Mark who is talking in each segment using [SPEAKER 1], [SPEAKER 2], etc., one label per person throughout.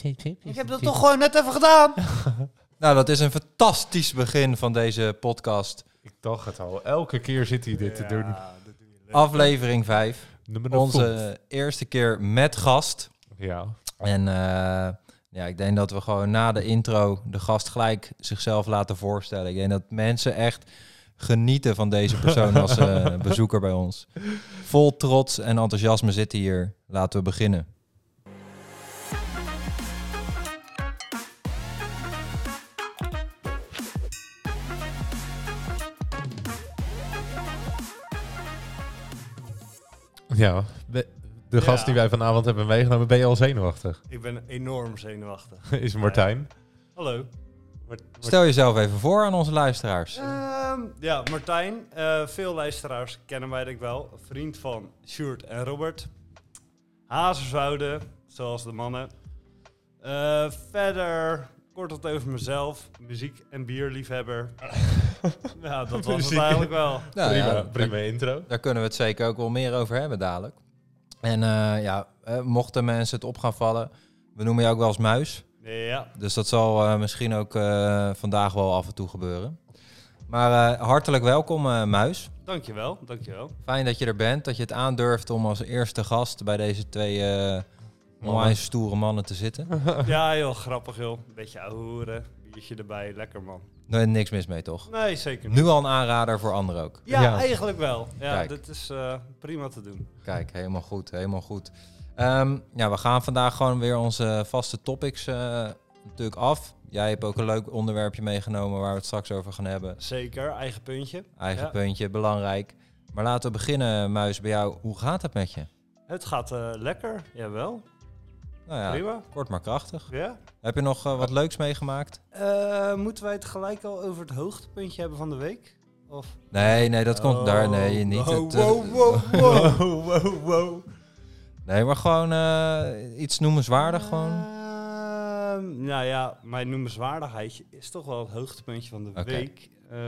[SPEAKER 1] Ik heb dat toch gewoon net even gedaan.
[SPEAKER 2] Nou, dat is een fantastisch begin van deze podcast.
[SPEAKER 3] Ik dacht het al. Elke keer zit hij dit te doen.
[SPEAKER 2] Aflevering 5.
[SPEAKER 3] Nummer vijf.
[SPEAKER 2] Onze eerste keer met gast.
[SPEAKER 3] Ja.
[SPEAKER 2] En eh, ja, ik denk dat we gewoon na de intro de gast gelijk zichzelf laten voorstellen. Ik denk dat mensen echt genieten van deze persoon als eh, bezoeker bij ons. Vol trots en enthousiasme zitten hier. Laten we beginnen.
[SPEAKER 3] Ja. we- De
[SPEAKER 4] Ja.
[SPEAKER 3] gast die wij vanavond hebben meegenomen, ben je al zenuwachtig?
[SPEAKER 4] Ik ben enorm zenuwachtig.
[SPEAKER 3] Is Martijn.
[SPEAKER 4] Hallo.
[SPEAKER 2] Stel jezelf even voor aan onze luisteraars.
[SPEAKER 4] Ehm, ja, Martijn. eh, veel luisteraars kennen mij denk ik wel. Vriend van Sjoerd en Robert. Hazerswouden, zoals de mannen. Eh, verder, kort wat over mezelf. Muziek- en bierliefhebber. ja, dat was het
[SPEAKER 3] Muziek.
[SPEAKER 4] eigenlijk wel.
[SPEAKER 2] Nou,
[SPEAKER 3] prima,
[SPEAKER 2] ja,
[SPEAKER 3] prima intro.
[SPEAKER 2] Daar kunnen we het zeker ook wel meer over hebben dadelijk. En eh, ja, eh, mochten mensen het op gaan vallen, we noemen je ook wel eens muis.
[SPEAKER 4] Ja,
[SPEAKER 2] Dus dat zal eh, misschien ook eh, vandaag wel af en toe gebeuren. Maar eh, hartelijk welkom, eh, Muis.
[SPEAKER 4] dankjewel, dankjewel.
[SPEAKER 2] Fijn dat je er bent, dat je het aandurft om als eerste gast bij deze twee eh
[SPEAKER 3] Mannen.
[SPEAKER 2] onwijs stoere mannen te zitten.
[SPEAKER 4] Ja, heel grappig joh. Beetje ahoeren, biertje erbij, lekker man.
[SPEAKER 2] Er is niks mis mee, toch?
[SPEAKER 4] Nee, zeker niet.
[SPEAKER 2] Nu al een aanrader voor anderen ook.
[SPEAKER 4] Ja,
[SPEAKER 3] Ja.
[SPEAKER 4] eigenlijk wel. Ja,
[SPEAKER 2] Kijk.
[SPEAKER 4] dit is eh, prima te doen.
[SPEAKER 2] Kijk, helemaal goed, helemaal goed. Ehm, ja, we gaan vandaag gewoon weer onze vaste topics eh, natuurlijk af. Jij hebt ook een leuk onderwerpje meegenomen waar we het straks over gaan hebben.
[SPEAKER 4] Zeker, eigen puntje.
[SPEAKER 2] Eigen
[SPEAKER 4] Ja.
[SPEAKER 2] puntje, belangrijk. Maar laten we beginnen, Muis, bij jou. Hoe gaat het met je?
[SPEAKER 4] Het gaat eh, lekker, jawel.
[SPEAKER 2] Nou ja,
[SPEAKER 4] Prima.
[SPEAKER 2] kort maar krachtig.
[SPEAKER 4] Ja.
[SPEAKER 2] Heb je nog eh, wat leuks meegemaakt?
[SPEAKER 4] Eh, moeten wij het gelijk al over het hoogtepuntje hebben van de week? Of?
[SPEAKER 2] Nee, nee, dat komt
[SPEAKER 4] Oh,
[SPEAKER 2] daar. Nee, niet.
[SPEAKER 4] Wow,
[SPEAKER 2] Het, eh,
[SPEAKER 4] wow, wow, wow, wow, wow.
[SPEAKER 2] Nee, maar gewoon eh, iets noemenswaardig gewoon.
[SPEAKER 4] Ehm, nou ja, mijn noemenswaardigheidje is toch wel het hoogtepuntje van de
[SPEAKER 2] Oké.
[SPEAKER 4] week. Eh,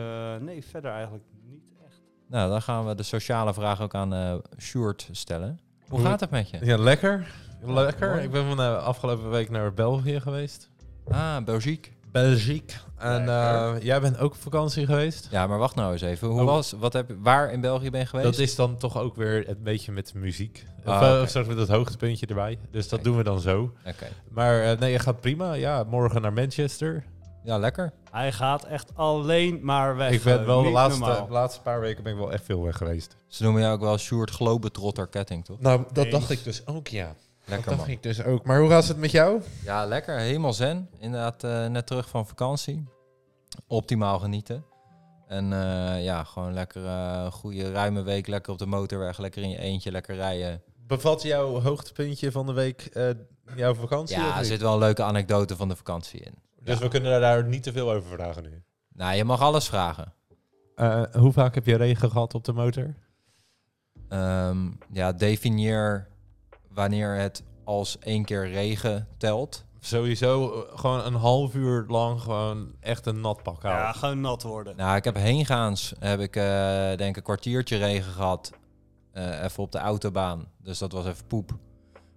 [SPEAKER 4] nee, verder eigenlijk niet echt.
[SPEAKER 2] Nou, dan gaan we de sociale vraag ook aan eh Sjoerd stellen. Hoe
[SPEAKER 4] Hm.
[SPEAKER 3] Hoe-
[SPEAKER 2] gaat het met je?
[SPEAKER 3] Ja, lekker. Lekker.
[SPEAKER 2] mooi.
[SPEAKER 3] Ik ben van de afgelopen week naar België geweest.
[SPEAKER 2] Ah, Belgique.
[SPEAKER 3] Belgique. En
[SPEAKER 2] Lekker.
[SPEAKER 3] eh, jij bent ook op vakantie geweest?
[SPEAKER 2] Ja, maar wacht nou eens even. Hoe
[SPEAKER 3] Oh.
[SPEAKER 2] was, wat heb, je- waar in België ben je geweest?
[SPEAKER 3] Dat is dan toch ook weer een beetje met de muziek. Of,
[SPEAKER 2] Ah,
[SPEAKER 3] eh,
[SPEAKER 2] oké.
[SPEAKER 3] of straks met dat hoogtepuntje erbij. Dus dat
[SPEAKER 2] Kijk.
[SPEAKER 3] doen we dan zo.
[SPEAKER 2] Oké.
[SPEAKER 3] Maar eh, nee, je gaat prima. Ja, morgen naar Manchester.
[SPEAKER 2] Ja, lekker.
[SPEAKER 4] Hij gaat echt alleen maar weg.
[SPEAKER 3] ik ben
[SPEAKER 4] eh,
[SPEAKER 3] wel de
[SPEAKER 4] niet
[SPEAKER 3] laatste,
[SPEAKER 4] normaal.
[SPEAKER 3] de laatste paar weken ben ik wel echt veel weg geweest.
[SPEAKER 2] Ze noemen jou ook wel Sjoerd Globetrotter Ketting, toch?
[SPEAKER 3] Nou, dat
[SPEAKER 4] Eens.
[SPEAKER 3] dacht ik dus ook, ja. Dat
[SPEAKER 2] Lekker
[SPEAKER 3] dacht
[SPEAKER 2] man.
[SPEAKER 3] ik dus ook. Maar hoe was het met jou?
[SPEAKER 2] Ja, lekker. Helemaal zen. Inderdaad, eh, net terug van vakantie. Optimaal genieten. En eh, ja, gewoon lekker eh, goede ruime week. Lekker op de motorweg. Lekker in je eentje. Lekker rijden.
[SPEAKER 3] Bevat jouw hoogtepuntje van de week eh, jouw vakantie? of
[SPEAKER 2] Ja, er
[SPEAKER 3] niet?
[SPEAKER 2] zit wel een leuke anekdote van de vakantie in.
[SPEAKER 3] Dus we kunnen daar niet te veel over vragen nu.
[SPEAKER 2] Nou, je mag alles vragen.
[SPEAKER 3] Eh, hoe vaak heb je regen gehad op de motor?
[SPEAKER 2] Ehm, ja, definieer wanneer het als één keer regen telt.
[SPEAKER 3] Sowieso eh, gewoon een half uur lang gewoon echt een nat pak houden.
[SPEAKER 4] Ja, gewoon nat worden.
[SPEAKER 2] Nou, ik heb heengaans, heb ik eh, denk ik een kwartiertje regen gehad. Eh, even op de autobaan. Dus dat was even poep.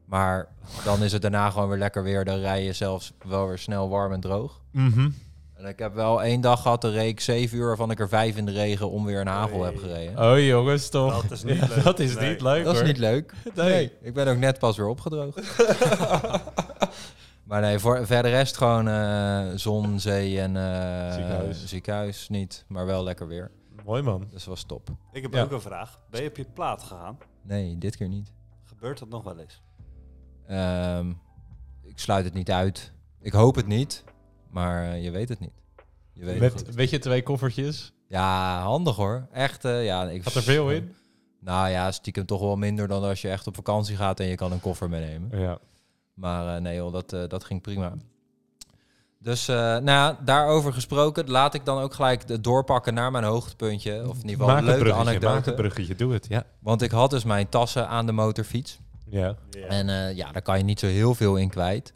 [SPEAKER 2] Maar dan is het daarna gewoon weer lekker weer. Dan rij je zelfs wel weer snel warm en droog.
[SPEAKER 3] Mhm.
[SPEAKER 2] En ik heb wel één dag gehad, de reek zeven uur, waarvan ik er vijf in de regen om weer een hagel heb
[SPEAKER 4] Oei.
[SPEAKER 2] gereden.
[SPEAKER 3] Oh jongens, toch.
[SPEAKER 4] Dat is niet
[SPEAKER 3] Ja,
[SPEAKER 4] leuk.
[SPEAKER 3] dat is
[SPEAKER 4] Nee.
[SPEAKER 3] niet leuk
[SPEAKER 2] Dat is
[SPEAKER 3] hoor.
[SPEAKER 2] niet leuk.
[SPEAKER 3] Nee.
[SPEAKER 2] ik ben ook net pas weer opgedroogd. maar nee, voor verder rest gewoon eh, zon, zee en eh,
[SPEAKER 3] Ziekenhuis.
[SPEAKER 2] ziekenhuis niet, maar wel lekker weer.
[SPEAKER 3] Mooi man.
[SPEAKER 2] Dus was top.
[SPEAKER 4] Ik heb
[SPEAKER 3] Ja.
[SPEAKER 4] ook een vraag. Ben je op je plaat gegaan?
[SPEAKER 2] Nee, dit keer niet.
[SPEAKER 4] Gebeurt dat nog wel eens?
[SPEAKER 2] Ehm, ik sluit het niet uit. Ik hoop het niet, maar eh, je weet het niet. Je weet het
[SPEAKER 3] Met,
[SPEAKER 2] niet.
[SPEAKER 3] weet je, twee koffertjes.
[SPEAKER 2] Ja, handig hoor. Echt, eh, ja. Ik
[SPEAKER 3] Gaat er veel in?
[SPEAKER 2] Nou ja, stiekem toch wel minder dan als je echt op vakantie gaat en je kan een koffer meenemen.
[SPEAKER 3] Ja.
[SPEAKER 2] Maar eh, nee joh, dat, eh, dat ging prima. Dus eh, nou ja, daarover gesproken, laat ik dan ook gelijk het doorpakken naar mijn hoogtepuntje. Of in ieder geval
[SPEAKER 3] Maak
[SPEAKER 2] een
[SPEAKER 3] het
[SPEAKER 2] leuke
[SPEAKER 3] bruggetje, maak het
[SPEAKER 2] anekdote.
[SPEAKER 3] bruggetje, doe het. Ja.
[SPEAKER 2] Want ik had dus mijn tassen aan de motorfiets.
[SPEAKER 3] ja.
[SPEAKER 2] En eh, ja, daar kan je niet zo heel veel in kwijt.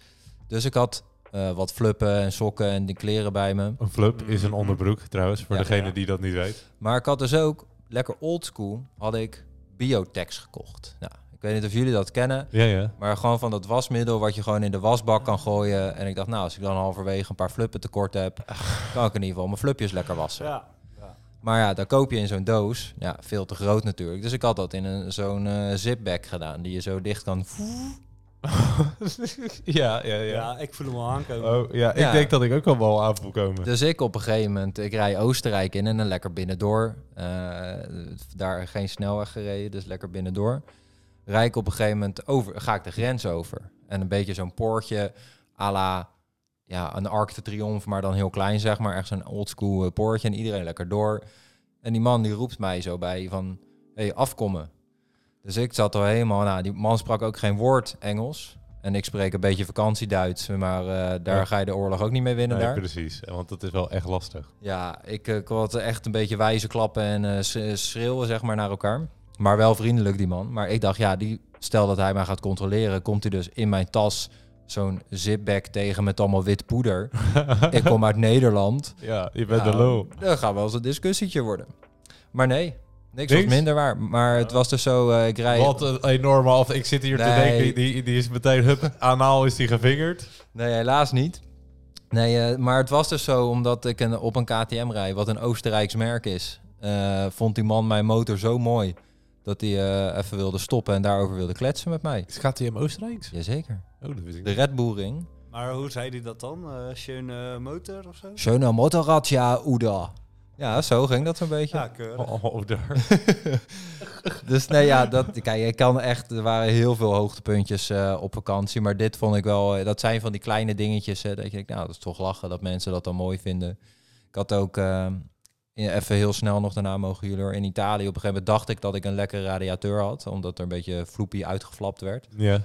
[SPEAKER 2] Dus ik had eh, wat fluppen en sokken en die kleren bij me.
[SPEAKER 3] Een flup is een onderbroek trouwens, voor
[SPEAKER 2] Ja.
[SPEAKER 3] degene
[SPEAKER 4] Ja.
[SPEAKER 3] die dat niet weet.
[SPEAKER 2] Maar ik had dus ook, lekker oldschool, had ik biotex gekocht. Nou, ik Ik weet niet of jullie dat kennen.
[SPEAKER 3] Ja, ja.
[SPEAKER 2] Maar gewoon van dat wasmiddel wat je gewoon in de wasbak kan gooien. En ik dacht, nou, als ik dan halverwege een paar fluppen tekort heb, kan ik in ieder geval mijn flupjes lekker wassen.
[SPEAKER 4] Ja.
[SPEAKER 2] Maar ja, dan koop je in zo'n doos. Ja, veel te groot natuurlijk. Dus ik had dat in een, zo'n eh zipbag gedaan, die je zo dicht kan...
[SPEAKER 3] ja, ja, ja.
[SPEAKER 4] ja, ik voel hem al aankomen.
[SPEAKER 3] Oh, ja, ik
[SPEAKER 2] Ja.
[SPEAKER 3] denk dat ik ook al wel aan wil komen.
[SPEAKER 2] Dus ik op een gegeven moment, ik rij Oostenrijk in en dan lekker binnendoor. Eh, daar geen snelweg gereden, dus lekker binnendoor. Rijd ik op een gegeven moment over, ga ik de grens over. En een beetje zo'n poortje à la ja, een Arc de Triomphe, maar dan heel klein zeg maar. Echt zo'n oldschool eh, poortje en iedereen lekker door. En die man die roept mij zo bij van, hé, hey, afkomen. Dus ik zat al helemaal, nou, die man sprak ook geen woord Engels. En ik spreek een beetje vakantieduits, maar eh, daar
[SPEAKER 3] Ja.
[SPEAKER 2] ga je de oorlog ook niet mee winnen
[SPEAKER 3] Nee,
[SPEAKER 2] daar.
[SPEAKER 3] precies. Want dat is wel echt lastig.
[SPEAKER 2] Ja, ik eh, kon het echt een beetje wijze klappen en eh, s- schreeuwen zeg maar naar elkaar. Maar wel vriendelijk die man. Maar ik dacht, ja, die, stel dat hij mij gaat controleren, komt hij dus in mijn tas zo'n zipbag tegen met allemaal wit poeder. ik kom uit Nederland.
[SPEAKER 3] Ja, je bent
[SPEAKER 2] Nou,
[SPEAKER 3] de lul.
[SPEAKER 2] Dat gaat wel eens een discussietje worden. Maar nee, niks, was
[SPEAKER 3] Niks?
[SPEAKER 2] minder waar. Maar het was dus zo, eh, ik rij...
[SPEAKER 3] Wat een enorme af. Ik zit hier te
[SPEAKER 2] Nee.
[SPEAKER 3] denken, die- die, die is meteen, hup, anaal is die gevingerd.
[SPEAKER 2] Nee, helaas niet. Nee, eh, maar het was dus zo, omdat ik een, op een KTM rij, wat een Oostenrijks merk is, eh, vond die man mijn motor zo mooi dat hij eh, even wilde stoppen en daarover wilde kletsen met mij.
[SPEAKER 3] Is KTM Oostenrijks?
[SPEAKER 2] Jazeker.
[SPEAKER 3] Oh, dat wist ik
[SPEAKER 2] De Red Bull Ring.
[SPEAKER 4] Maar hoe zei hij dat dan? Eh schöne motor of zo?
[SPEAKER 2] Schöne Motorrad, ja, Uda. Ja, zo ging dat een beetje.
[SPEAKER 4] Ja, keurig.
[SPEAKER 3] Oh, oh, daar.
[SPEAKER 2] Dus nee, ja, dat, kijk, ik kan echt, er waren heel veel hoogtepuntjes eh, op vakantie, maar dit vond ik wel, eh, dat zijn van die kleine dingetjes, eh, dat je denkt, nou, dat is toch lachen dat mensen dat dan mooi vinden. Ik had ook, eh, in- even heel snel nog daarna mogen jullie hoor, in Italië, op een gegeven moment dacht ik dat ik een lekkere radiateur had, omdat er een beetje floepie uitgeflapt werd.
[SPEAKER 3] Ja.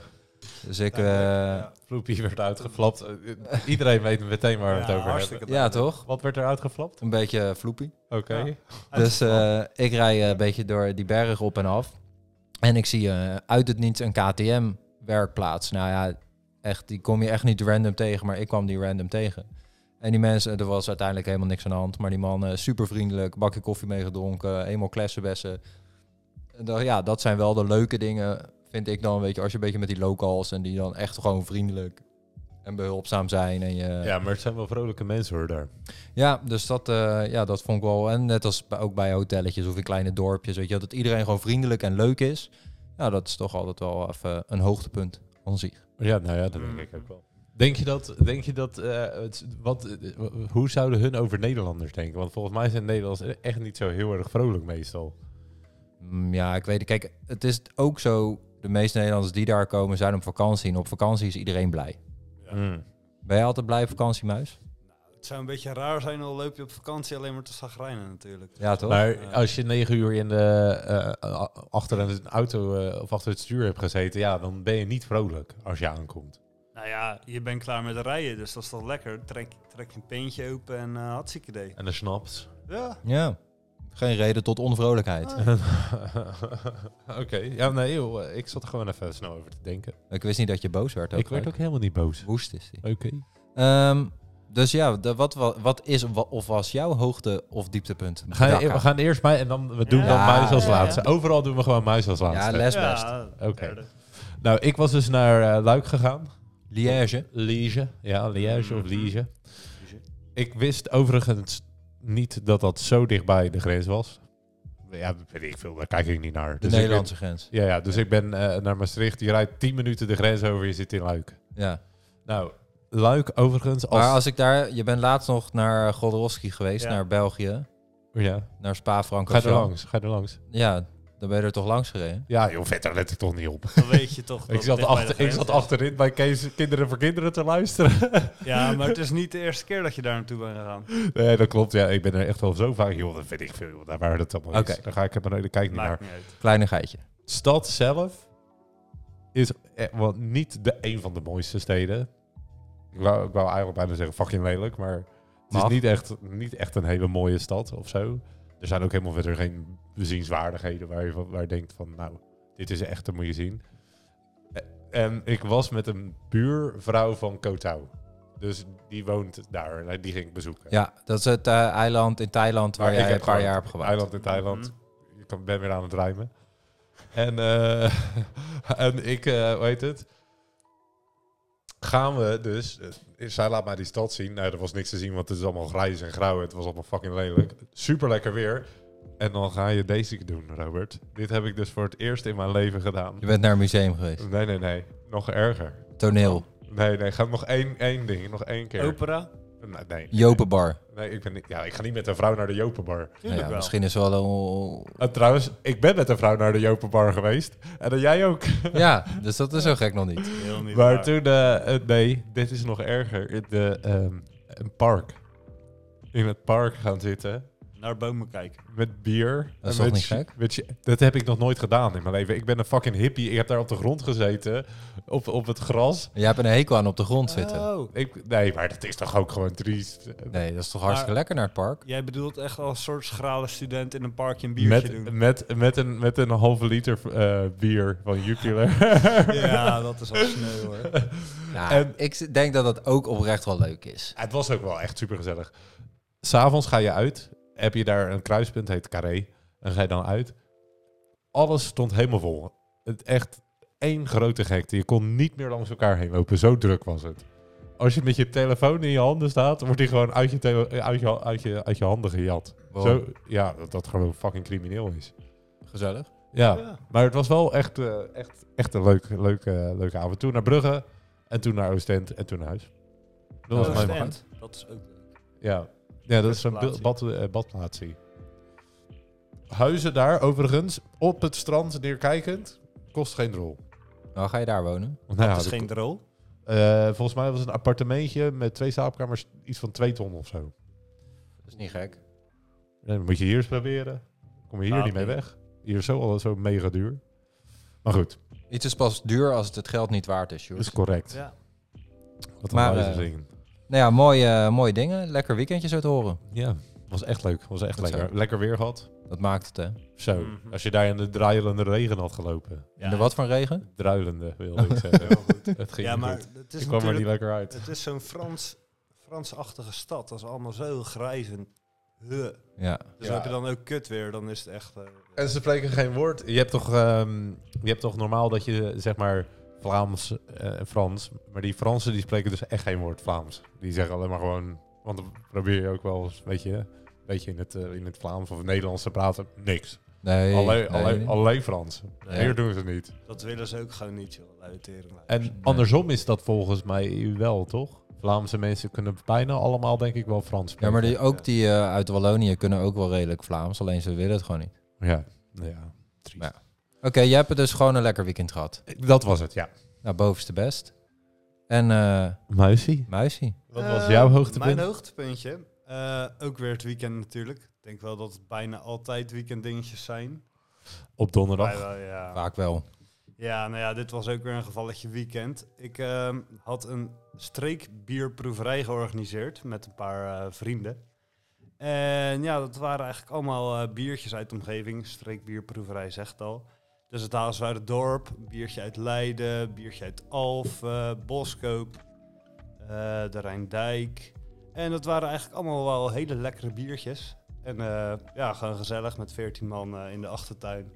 [SPEAKER 2] Dus ik, eh,
[SPEAKER 4] Ja,
[SPEAKER 3] Floepie werd uitgeflapt. Eh, Iedereen weet meteen waar we het
[SPEAKER 4] Ja,
[SPEAKER 3] over hebben.
[SPEAKER 4] hartstikke
[SPEAKER 2] ja, toch?
[SPEAKER 3] Wat werd er uitgeflapt?
[SPEAKER 2] Een beetje floepie.
[SPEAKER 3] Oké.
[SPEAKER 4] Ja.
[SPEAKER 2] Dus eh, ik rij eh, een beetje door die berg op en af. En ik zie eh, uit het niets een KTM-werkplaats. Nou ja, echt, die kom je echt niet random tegen, maar ik kwam die random tegen. En die mensen, er was uiteindelijk helemaal niks aan de hand. Maar die man, super vriendelijk, bakje koffie meegedronken, helemaal klessenbessen. En dan, ja, dat zijn wel de leuke dingen, vind ik dan. Weet je, als je een beetje met die locals en die dan echt gewoon vriendelijk en behulpzaam zijn. En je,
[SPEAKER 3] Ja, maar het zijn wel vrolijke mensen hoor daar.
[SPEAKER 2] ja, dus dat, eh, ja, dat vond ik wel. En net als bij- ook bij hotelletjes of in kleine dorpjes, weet je, wel, dat iedereen gewoon vriendelijk en leuk is. Ja, dat is toch altijd wel even een hoogtepunt aan zich.
[SPEAKER 3] Ja, nou ja, dat denk ik ook wel. Denk je dat, denk je dat eh, het, wat, eh, w- hoe zouden hun over Nederlanders denken? Want volgens mij zijn Nederlanders e-, echt niet zo heel erg vrolijk meestal.
[SPEAKER 2] Mm, Ja, ik weet het. Kijk, het is ook zo, de meeste Nederlanders die daar komen zijn op vakantie. En op vakantie is iedereen blij.
[SPEAKER 3] Mm.
[SPEAKER 2] Ben jij altijd blij op vakantie, Muis?
[SPEAKER 4] Het zou een beetje raar zijn, al loop je op vakantie alleen maar te zagrijnen natuurlijk.
[SPEAKER 2] Ja, toch?
[SPEAKER 3] Maar als je negen uur in de, eh, a- achter een auto eh, of achter het stuur hebt gezeten, ja, dan ben je niet vrolijk als je aankomt.
[SPEAKER 4] Nou ja, je bent klaar met rijden, dus dat is toch lekker. Trek, trek een peentje open en uh, hartstikke idee.
[SPEAKER 3] En dan snapt.
[SPEAKER 4] Ja.
[SPEAKER 2] Ja. Geen reden tot onvrolijkheid.
[SPEAKER 3] Oh. Oké, ja, nee, joh, eh, ik zat er gewoon even snel over te denken.
[SPEAKER 2] Ik wist niet dat je boos werd. Ook
[SPEAKER 3] Ik werd
[SPEAKER 2] gelijk.
[SPEAKER 3] ook helemaal niet boos.
[SPEAKER 2] woest is die.
[SPEAKER 3] Oké.
[SPEAKER 2] Ehm, dus ja, de- wat, wa- wat is wa- of was jouw hoogte of dieptepunt?
[SPEAKER 3] Ga je-
[SPEAKER 2] Dakka.
[SPEAKER 3] we gaan eerst mij en dan we doen
[SPEAKER 4] Ja.
[SPEAKER 3] dan muis als
[SPEAKER 4] Ja.
[SPEAKER 3] laatste. Overal doen we gewoon muis als
[SPEAKER 2] Ja,
[SPEAKER 3] laatste.
[SPEAKER 2] les best.
[SPEAKER 4] ja
[SPEAKER 3] Oké.
[SPEAKER 4] derde.
[SPEAKER 3] Nou, ik was dus naar eh, Luik gegaan.
[SPEAKER 2] Liège.
[SPEAKER 3] Liege. Ja, Liège of
[SPEAKER 4] Mhm.
[SPEAKER 3] Liege. Ik wist overigens niet dat dat zo dichtbij de grens was. Ja, weet ik veel. Daar kijk ik niet naar.
[SPEAKER 2] De
[SPEAKER 3] Dus ik
[SPEAKER 2] Nederlandse grens.
[SPEAKER 3] ben- ja, ja, dus ik ben eh, naar Maastricht. Je rijdt 10 minuten de grens over. Je zit in Luik.
[SPEAKER 2] Ja.
[SPEAKER 3] Nou, Luik overigens als...
[SPEAKER 2] Maar als ik daar... Je bent laatst nog naar Godorowski geweest,
[SPEAKER 4] Ja.
[SPEAKER 2] naar België.
[SPEAKER 3] ja.
[SPEAKER 2] Naar
[SPEAKER 3] Ga je er
[SPEAKER 2] Spa-Francorchamps.
[SPEAKER 3] langs. Ga je er langs.
[SPEAKER 2] Ja, dan ben je er toch langs gereden.
[SPEAKER 3] Ja, joh, verder let ik toch niet op.
[SPEAKER 4] Dan weet je toch dat
[SPEAKER 3] Ik zat,
[SPEAKER 4] het dicht bij de
[SPEAKER 3] achter, ik
[SPEAKER 4] grens
[SPEAKER 3] zat
[SPEAKER 4] is.
[SPEAKER 3] achterin bij Kees Kinderen voor Kinderen te luisteren.
[SPEAKER 4] Ja, maar het is niet de eerste keer dat je daar naartoe bent gegaan.
[SPEAKER 3] nee, dat klopt. Ja, ik ben er echt wel zo vaak. Joh, dat weet ik veel. Joh, daar waren dat allemaal
[SPEAKER 2] Oké. Nou,
[SPEAKER 3] is. Daar ga ik helemaal daar kijk ik niet naar.
[SPEAKER 4] Maakt niet uit.
[SPEAKER 2] Kleinigheidje.
[SPEAKER 3] Stad zelf is eh, wel niet de een van de mooiste steden. Ik wou, ik wou eigenlijk bijna zeggen fucking lelijk, maar het
[SPEAKER 2] Mag.
[SPEAKER 3] is niet echt, niet echt een hele mooie stad of zo. Er zijn ook helemaal verder geen bezienswaardigheden waar je, van, waar je denkt van, nou, dit is echt, dat moet je zien. Eh, En ik was met een buurvrouw van Kotau. Dus die woont daar en die ging ik bezoeken.
[SPEAKER 2] Ja, dat is het eh, eiland in Thailand waar
[SPEAKER 3] Maar ik
[SPEAKER 2] jij
[SPEAKER 3] heb
[SPEAKER 2] een paar
[SPEAKER 3] gewoond.
[SPEAKER 2] jaar hebt gewoond.
[SPEAKER 3] Eiland in Thailand. Ik kan- ben weer aan het rijmen. En, eh, en ik, eh hoe heet het? Gaan we dus... eh, Zij laat mij die stad zien. Nou, er was niks te zien, want het is allemaal grijs en grauw. Het was allemaal fucking lelijk. Super lekker weer. En dan ga je deze doen, Robert. Dit heb ik dus voor het eerst in mijn leven gedaan.
[SPEAKER 2] Je bent naar een museum geweest.
[SPEAKER 3] Nee, nee, nee. Nog erger.
[SPEAKER 2] Toneel.
[SPEAKER 3] Nee, nee. Ga nog één, één ding. Nog één keer.
[SPEAKER 4] Opera?
[SPEAKER 3] Nee, nee.
[SPEAKER 2] Jopenbar.
[SPEAKER 3] Nee, ik, ben niet- ja, ik ga niet met een vrouw naar de Jopenbar.
[SPEAKER 2] Nou
[SPEAKER 4] Tuurlijk
[SPEAKER 2] ja,
[SPEAKER 4] wel.
[SPEAKER 2] misschien is wel een...
[SPEAKER 3] En Eh, trouwens, ik ben met een vrouw naar de Jopenbar geweest. En dan jij ook.
[SPEAKER 2] Ja, dus dat is zo gek nog niet.
[SPEAKER 4] Heel niet
[SPEAKER 3] Maar
[SPEAKER 4] waar.
[SPEAKER 3] toen, eh, eh, nee, dit is nog erger. De, ehm, een park. In het park gaan zitten.
[SPEAKER 4] Naar bomen kijken.
[SPEAKER 3] Met bier.
[SPEAKER 2] Dat is toch
[SPEAKER 3] en met
[SPEAKER 2] niet
[SPEAKER 3] chi-
[SPEAKER 2] gek?
[SPEAKER 3] met chi- dat heb ik nog nooit gedaan in mijn leven. Ik ben een fucking hippie. Ik heb daar op de grond gezeten. Op, op het gras.
[SPEAKER 2] Jij hebt een hekel aan op de grond zitten.
[SPEAKER 4] Oh,
[SPEAKER 3] Ik, nee, maar dat is toch ook gewoon triest.
[SPEAKER 2] Nee, dat is toch hartstikke
[SPEAKER 4] Maar-
[SPEAKER 2] lekker naar het park?
[SPEAKER 4] jij bedoelt echt als een soort schrale student in een parkje een biertje
[SPEAKER 3] Met,
[SPEAKER 4] doen.
[SPEAKER 3] met, met, een, met een halve liter eh, bier van Jupiler.
[SPEAKER 4] Ja, dat is al sneu hoor.
[SPEAKER 2] Nou,
[SPEAKER 3] En-
[SPEAKER 2] ik denk dat dat ook oprecht wel leuk is.
[SPEAKER 3] Het was ook wel echt super gezellig. S'avonds ga je uit. Heb je daar een kruispunt, heet Carré. En ga je dan uit. Alles stond helemaal vol. Het echt één grote gekte. Je kon niet meer langs elkaar heen lopen. Zo druk was het. Als je met je telefoon in je handen staat, wordt die gewoon uit je, tele- eh, uit je, uit je, uit je handen gejat.
[SPEAKER 2] Wow.
[SPEAKER 3] Zo, ja, dat dat gewoon fucking crimineel is.
[SPEAKER 2] Gezellig.
[SPEAKER 3] Ja,
[SPEAKER 4] Ja.
[SPEAKER 3] maar het was wel echt, eh, echt, echt een leuk, leuk, eh, leuke avond. Toen naar Brugge en toen naar Oostend en toen naar huis. Dat was mijn
[SPEAKER 4] Oostend, Dat is ook
[SPEAKER 3] ja. ja, dat is een
[SPEAKER 4] Rustplaatsie.
[SPEAKER 3] bad, eh, badplaatsie. Huizen daar overigens, op het strand neerkijkend, kost geen drol.
[SPEAKER 2] Nou, ga je daar wonen?
[SPEAKER 3] Nou, ja,
[SPEAKER 4] dat is
[SPEAKER 3] dat-
[SPEAKER 4] geen drol.
[SPEAKER 3] eh, volgens mij was het een appartementje met twee slaapkamers iets van twee ton of zo.
[SPEAKER 2] Dat is niet gek.
[SPEAKER 3] Ja, Dan moet je hier eens proberen. Kom je hier
[SPEAKER 4] Gaat
[SPEAKER 3] niet mee
[SPEAKER 4] niet.
[SPEAKER 3] weg. Hier is zo al zo mega duur. Maar goed,
[SPEAKER 2] Iets is pas duur als het het geld niet waard is,
[SPEAKER 3] dat
[SPEAKER 2] Sjoerd.
[SPEAKER 4] Dus-
[SPEAKER 3] is correct.
[SPEAKER 4] Ja.
[SPEAKER 3] Wat
[SPEAKER 2] Maar,
[SPEAKER 3] een
[SPEAKER 2] eh,
[SPEAKER 3] huizen zingen.
[SPEAKER 2] Nou ja, mooie, mooie dingen. Lekker weekendje zo te horen.
[SPEAKER 3] Ja, was echt leuk. Was echt
[SPEAKER 2] Dat
[SPEAKER 3] lekker.
[SPEAKER 2] zo.
[SPEAKER 3] Lekker weer gehad.
[SPEAKER 2] Dat maakt het, hè?
[SPEAKER 3] Zo,
[SPEAKER 4] Mhm.
[SPEAKER 3] als je daar in de druilende regen had gelopen.
[SPEAKER 2] En de wat van regen?
[SPEAKER 3] Druilende, wilde ik zeggen. Het ging
[SPEAKER 4] Ja,
[SPEAKER 3] niet
[SPEAKER 4] maar
[SPEAKER 3] goed.
[SPEAKER 4] het
[SPEAKER 3] Ik
[SPEAKER 4] is
[SPEAKER 3] kwam er niet
[SPEAKER 4] natuurlijk...
[SPEAKER 3] lekker uit.
[SPEAKER 4] Het is zo'n Frans, Fransachtige stad. Dat is allemaal zo grijs en... Huh.
[SPEAKER 2] Ja.
[SPEAKER 4] Dus
[SPEAKER 3] Ja.
[SPEAKER 4] heb je dan ook kut weer, dan is het echt... eh,
[SPEAKER 3] En ze spreken geen woord. Je hebt toch, ehm, je hebt toch normaal dat je, zeg maar, Vlaams eh, en Frans. Maar die Fransen die spreken dus echt geen woord Vlaams. Die zeggen alleen maar gewoon... Want dan probeer je ook wel eens, weet je... een beetje in het, eh, in het Vlaams of Nederlands te praten. Niks.
[SPEAKER 2] Nee.
[SPEAKER 3] alleen,
[SPEAKER 2] nee.
[SPEAKER 3] alleen, alleen Frans.
[SPEAKER 2] Ja.
[SPEAKER 3] Hier doen ze het niet.
[SPEAKER 4] dat willen ze ook gewoon niet, joh. Uiteren.
[SPEAKER 3] En andersom is dat volgens mij wel, toch? Vlaamse mensen kunnen bijna allemaal, denk ik, wel Frans
[SPEAKER 2] Ja,
[SPEAKER 3] spreken.
[SPEAKER 2] maar die, ook die eh, uit Wallonië kunnen ook wel redelijk Vlaams. Alleen ze willen het gewoon niet.
[SPEAKER 3] Ja, ja. triest.
[SPEAKER 2] Ja. Oké, jij hebt dus gewoon een lekker weekend gehad.
[SPEAKER 3] Dat was het, ja.
[SPEAKER 2] Nou, bovenste best. En eh
[SPEAKER 3] Muisie,
[SPEAKER 2] Muisie.
[SPEAKER 3] wat was jouw hoogtepunt?
[SPEAKER 4] Eh, Mijn hoogtepuntje? Eh, ook weer het weekend natuurlijk. Ik denk wel dat het bijna altijd weekenddingetjes zijn.
[SPEAKER 3] Op donderdag.
[SPEAKER 4] Vrijwel, ja.
[SPEAKER 2] Vaak wel.
[SPEAKER 4] ja, nou ja, dit was ook weer een gevalletje weekend. Ik ehm, had een streekbierproeverij georganiseerd met een paar eh, vrienden. En ja, dat waren eigenlijk allemaal eh, biertjes uit de omgeving. Streekbierproeverij zegt het al. Dus het Haalswaarderdorp, biertje uit Leiden, biertje uit Alf, eh, Boskoop, eh, de Rijndijk. En dat waren eigenlijk allemaal wel hele lekkere biertjes. En eh, ja, gewoon gezellig met 14 man eh, in de achtertuin.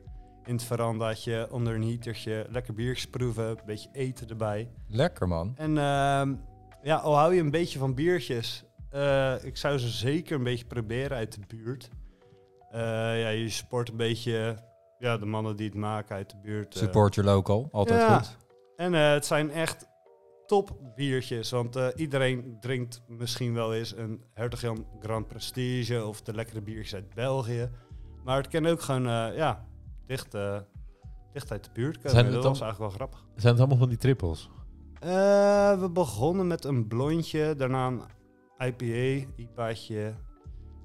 [SPEAKER 4] In het verandaatje, onder een heatertje, lekker biertjes proeven, een beetje eten erbij.
[SPEAKER 2] Lekker, man.
[SPEAKER 4] En ehm, ja, al hou je een beetje van biertjes, eh, ik zou ze zeker een beetje proberen uit de buurt. Eh, ja, je support een beetje ja, de mannen die het maken uit de buurt. eh.
[SPEAKER 2] Support your local. Altijd
[SPEAKER 4] Ja.
[SPEAKER 2] goed.
[SPEAKER 4] En eh, het zijn echt top biertjes, want eh, iedereen drinkt misschien wel eens een Hertog Jan Grand Prestige of de lekkere biertjes uit België. Maar het kan ook gewoon, eh, ja, dicht, eh, dicht uit de buurt komen.
[SPEAKER 3] Zijn het
[SPEAKER 4] dat
[SPEAKER 3] dan-
[SPEAKER 4] was eigenlijk wel grappig.
[SPEAKER 3] Zijn het allemaal van die trippels?
[SPEAKER 4] Eh, we begonnen met een blondje, daarna een IPA, IPA'tje,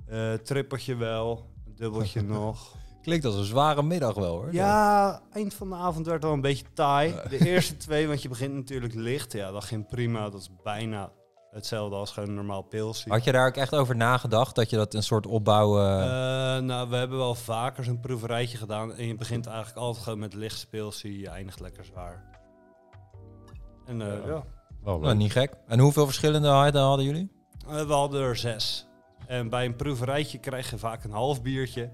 [SPEAKER 4] eh trippeltje wel, een dubbeltje nog.
[SPEAKER 2] Klinkt als een zware middag wel, hoor.
[SPEAKER 4] Ja, eind van de avond werd wel een beetje taai. De eerste twee, want je begint natuurlijk licht. Ja, dat ging prima. Dat is bijna hetzelfde als gewoon een normaal pilsje.
[SPEAKER 2] Had je daar ook echt over nagedacht? Dat je dat een soort opbouw... eh,
[SPEAKER 4] Eh, nou, we hebben wel vaker zo'n proeverijtje gedaan. En je begint eigenlijk altijd gewoon met licht speelsie. Je eindigt lekker zwaar. En eh,
[SPEAKER 3] Ja.
[SPEAKER 4] ja.
[SPEAKER 3] Wel
[SPEAKER 2] nou,
[SPEAKER 3] leuk.
[SPEAKER 2] niet gek. En hoeveel verschillende hadden hadden jullie?
[SPEAKER 4] Eh, we hadden er zes. En bij een proeverijtje krijg je vaak een half biertje.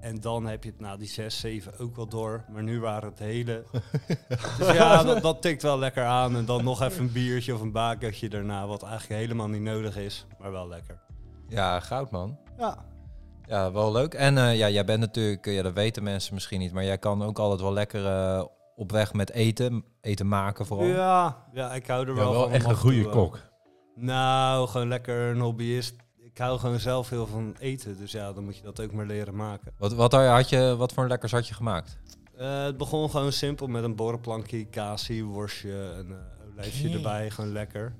[SPEAKER 4] En dan heb je het na die 6, 7 ook wel door. Maar nu waren het hele. dus ja, dat, dat tikt wel lekker aan. En dan nog even een biertje of een bakertje daarna. Wat eigenlijk helemaal niet nodig is, maar wel lekker.
[SPEAKER 2] Ja, goud man.
[SPEAKER 4] Ja.
[SPEAKER 2] Ja, wel leuk. En eh, ja, jij bent natuurlijk, eh, ja, dat weten mensen misschien niet, maar jij kan ook altijd wel lekker eh, op weg met eten, eten maken vooral.
[SPEAKER 4] Ja, ja, ik hou er
[SPEAKER 3] Ja,
[SPEAKER 4] wel, van.
[SPEAKER 3] wel
[SPEAKER 4] om
[SPEAKER 3] echt
[SPEAKER 4] af
[SPEAKER 3] een
[SPEAKER 4] en
[SPEAKER 3] goede
[SPEAKER 4] toe, eh,
[SPEAKER 3] kok.
[SPEAKER 4] Nou, gewoon lekker een hobbyist. Ik hou gewoon zelf heel van eten. Dus ja, dan moet je dat ook maar leren maken.
[SPEAKER 2] Wat, wat, had je, wat voor lekkers had je gemaakt?
[SPEAKER 4] Eh, het begon gewoon simpel met een borrelplankje, kaasie, worstje, een eh, olijfje
[SPEAKER 2] Oké.
[SPEAKER 4] erbij. Gewoon lekker.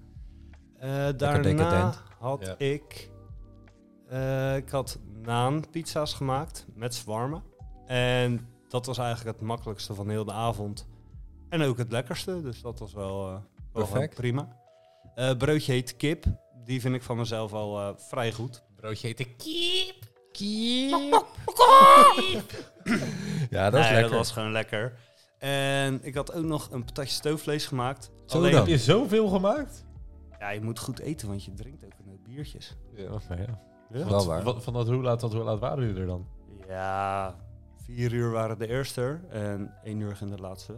[SPEAKER 4] Eh, daarna
[SPEAKER 2] decadent.
[SPEAKER 4] had
[SPEAKER 3] Ja.
[SPEAKER 4] ik... eh, ik had naanpizza's gemaakt met zwarmen. En dat was eigenlijk het makkelijkste van heel de avond. En ook het lekkerste. Dus dat was wel, eh, wel gewoon
[SPEAKER 2] Perfect.
[SPEAKER 4] prima. Eh, broodje heet kip. Die vind ik van mezelf al eh, vrij goed.
[SPEAKER 3] Broodje heet ik.
[SPEAKER 2] Ja, dat is
[SPEAKER 4] Nee,
[SPEAKER 2] lekker.
[SPEAKER 4] dat was gewoon lekker. En ik had ook nog een patatje stoofvlees gemaakt.
[SPEAKER 2] Zo
[SPEAKER 4] Alleen,
[SPEAKER 2] dan.
[SPEAKER 3] Heb je zoveel gemaakt?
[SPEAKER 4] ja, je moet goed eten, want je drinkt ook een hoop biertjes.
[SPEAKER 3] Ja, maar ja.
[SPEAKER 2] Wel
[SPEAKER 3] Wat-
[SPEAKER 2] waar.
[SPEAKER 3] wat- van dat hoe laat tot hoe laat waren jullie er dan?
[SPEAKER 4] Ja, vier uur waren de eerste en één uur ging de laatste.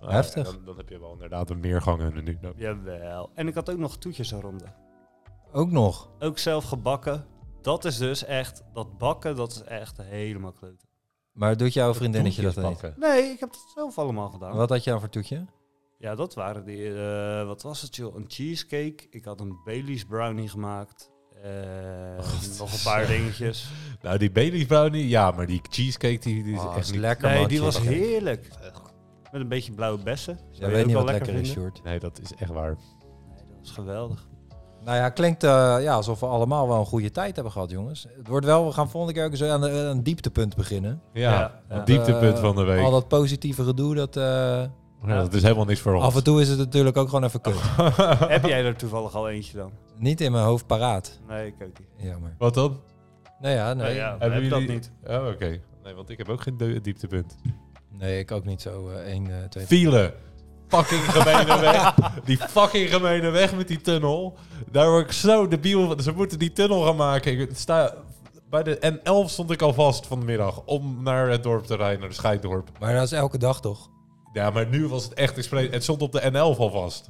[SPEAKER 3] Ah,
[SPEAKER 2] Heftig.
[SPEAKER 3] ja, Dan, dan heb je wel inderdaad een meergangen nu. nodig.
[SPEAKER 4] Jawel. En ik had ook nog toetjes eronder.
[SPEAKER 2] Ook nog.
[SPEAKER 4] Ook zelf gebakken. Dat is dus echt, dat bakken, dat is echt helemaal kloten.
[SPEAKER 2] Maar doet jouw vriendinnetje dat
[SPEAKER 3] Toetjes
[SPEAKER 2] niet?
[SPEAKER 3] bakken.
[SPEAKER 4] Nee, ik heb dat zelf allemaal gedaan.
[SPEAKER 2] Wat had je aan voor toetje?
[SPEAKER 4] Ja, dat waren die, eh, wat was het joh, een cheesecake. Ik had een Bailey's brownie gemaakt.
[SPEAKER 2] Oh,
[SPEAKER 4] En nog een
[SPEAKER 2] eh,
[SPEAKER 4] paar dingetjes.
[SPEAKER 3] Nou, die Bailey's brownie, ja, maar die cheesecake die, die Ah, is
[SPEAKER 2] Oh,
[SPEAKER 3] echt
[SPEAKER 2] is
[SPEAKER 3] niet...
[SPEAKER 2] lekker
[SPEAKER 4] Nee,
[SPEAKER 2] man,
[SPEAKER 4] die was
[SPEAKER 2] cheesecake.
[SPEAKER 4] heerlijk. Met een beetje blauwe bessen. Zou
[SPEAKER 2] Jij
[SPEAKER 4] je
[SPEAKER 2] weet
[SPEAKER 4] ook
[SPEAKER 2] niet
[SPEAKER 4] wel
[SPEAKER 2] wat lekker is,
[SPEAKER 4] vinden?
[SPEAKER 2] Sjoerd.
[SPEAKER 3] Nee, dat is echt waar.
[SPEAKER 4] Nee, dat is geweldig.
[SPEAKER 2] Nou ja, klinkt eh, ja, alsof we allemaal wel een goede tijd hebben gehad, jongens. Het wordt wel, we gaan volgende keer ook eens aan de- aan een dieptepunt beginnen.
[SPEAKER 3] Ja,
[SPEAKER 4] Ja.
[SPEAKER 3] het dieptepunt
[SPEAKER 2] Eh,
[SPEAKER 3] van de week.
[SPEAKER 2] Al dat positieve gedoe, dat, eh,
[SPEAKER 3] Ja, dat is helemaal niks voor ons.
[SPEAKER 2] af en toe is het natuurlijk ook gewoon even kut.
[SPEAKER 4] Heb jij er toevallig al eentje dan?
[SPEAKER 2] niet in mijn hoofd paraat.
[SPEAKER 4] Nee, ik ook niet.
[SPEAKER 2] Jammer.
[SPEAKER 3] Wat dan?
[SPEAKER 2] Nou ja,
[SPEAKER 4] Nee,
[SPEAKER 2] nee.
[SPEAKER 4] ja,
[SPEAKER 3] Hebben
[SPEAKER 4] heb dat
[SPEAKER 3] jullie-
[SPEAKER 4] niet.
[SPEAKER 3] Oh, oké. Nee, want ik heb ook geen de- dieptepunt.
[SPEAKER 2] Nee, ik ook niet zo. eh 1, 2,
[SPEAKER 3] File. Fucking gemene weg. Die fucking gemene weg met die tunnel. Daar word ik zo debiel van. Ze moeten die tunnel gaan maken. Ik sta... Bij de N11 stond ik al vast vanmiddag om naar het dorp te rijden, naar de Scheiddorp.
[SPEAKER 2] Maar dat is elke dag toch?
[SPEAKER 3] Ja, maar nu was het echt expres. Het stond op de N11 al vast.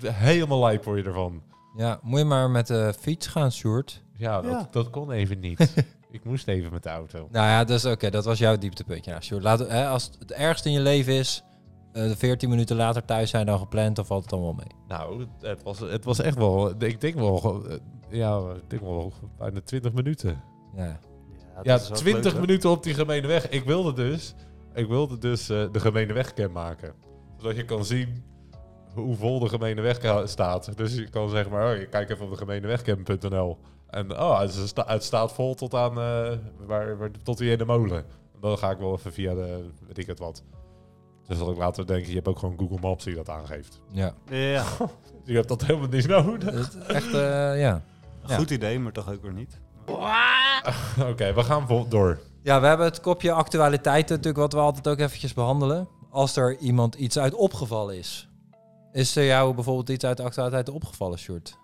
[SPEAKER 3] Helemaal lijp word je ervan.
[SPEAKER 2] Ja, moet je maar met de fiets gaan, Sjoerd.
[SPEAKER 3] Ja,
[SPEAKER 4] Ja.
[SPEAKER 3] Dat, dat kon even niet. ik moest even met de auto.
[SPEAKER 2] Nou ja, dus, oké, dat was jouw dieptepuntje. Nou, Sjoerd, laat, hè, als het ergste in je leven is, eh 14 minuten later thuis zijn dan gepland, dan valt het allemaal mee.
[SPEAKER 3] Nou, het was, het was echt wel... Ik denk wel... gewoon, eh, Ja, ik denk wel bijna 20 minuten.
[SPEAKER 2] Ja.
[SPEAKER 4] Ja,
[SPEAKER 3] Ja,
[SPEAKER 4] Nou, dat is wel
[SPEAKER 3] 20
[SPEAKER 4] leuk, hè?
[SPEAKER 3] minuten op die gemene weg. Ik wilde dus, ik wilde dus eh, de gemene weg kenmaken. Zodat je kan zien hoe vol de gemene weg ka- staat. Dus je kan zeg maar, oh, ik kijk even op de gemeenewegcam.nl. En oh, het, is- het staat vol tot aan, eh, waar, waar- tot die ene molen. Dan ga ik wel even via de, weet ik het wat. Dus dat ik later denk, je hebt ook gewoon Google Maps die dat aangeeft.
[SPEAKER 2] Ja.
[SPEAKER 4] Ja,
[SPEAKER 3] Dus je hebt dat helemaal niet nodig.
[SPEAKER 2] Het, echt, eh, ja. Ja.
[SPEAKER 4] goed idee, maar toch ook weer niet.
[SPEAKER 3] Oké, we gaan vol door.
[SPEAKER 2] Ja, we hebben het kopje actualiteiten natuurlijk, wat we altijd ook eventjes behandelen. Als er iemand iets uit opgevallen is. Is er jou bijvoorbeeld iets uit de actualiteit opgevallen, Sjoerd?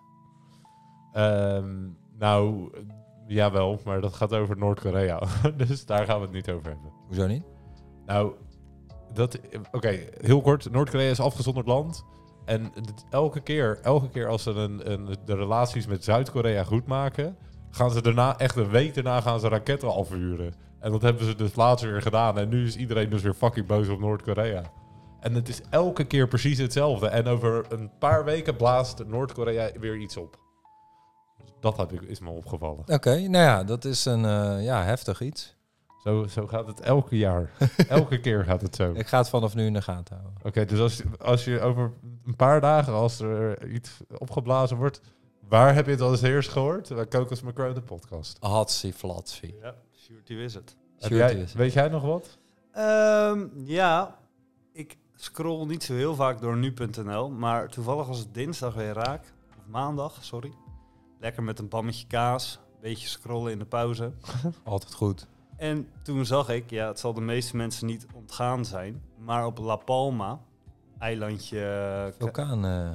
[SPEAKER 3] Ehm, nou, eh, jawel, maar dat gaat over Noord-Korea. dus daar gaan we het niet over hebben.
[SPEAKER 2] Hoezo niet?
[SPEAKER 3] Nou, dat. Oké, heel kort. Noord-Korea is afgezonderd land. En dit- elke keer, elke keer als ze een, een, de relaties met Zuid-Korea goed maken, gaan ze daarna, echt een week daarna, gaan ze raketten afvuren. En dat hebben ze dus laatst weer gedaan. En nu is iedereen dus weer fucking boos op Noord-Korea. En het is elke keer precies hetzelfde. En over een paar weken blaast Noord-Korea weer iets op. Dus Dat heb ik, is me opgevallen.
[SPEAKER 2] Oké, nou ja, dat is een eh, ja, heftig iets.
[SPEAKER 3] Zo, zo gaat het elke jaar. Elke keer gaat het zo.
[SPEAKER 2] Ik ga het vanaf nu in de gaten houden.
[SPEAKER 3] Oké, dus als, je- als je over een paar dagen, als er iets opgeblazen wordt, waar heb je het als eerst gehoord? Bij Kokos Macron de podcast.
[SPEAKER 2] Hatsi flatsi.
[SPEAKER 4] Ja, Sjoerd, die wist het.
[SPEAKER 3] Heb
[SPEAKER 2] Sjoerd
[SPEAKER 3] jij,
[SPEAKER 2] is het.
[SPEAKER 3] weet jij nog wat?
[SPEAKER 4] Ehm, ja, ik scroll niet zo heel vaak door nu.nl, maar toevallig was het dinsdag weer raak. Of maandag, sorry. Lekker met een bammetje kaas, beetje scrollen in de pauze.
[SPEAKER 2] Altijd goed.
[SPEAKER 4] En toen zag ik, ja, het zal de meeste mensen niet ontgaan zijn, maar op La Palma, eilandje, eh, Ka-
[SPEAKER 2] Vulkaan, eh,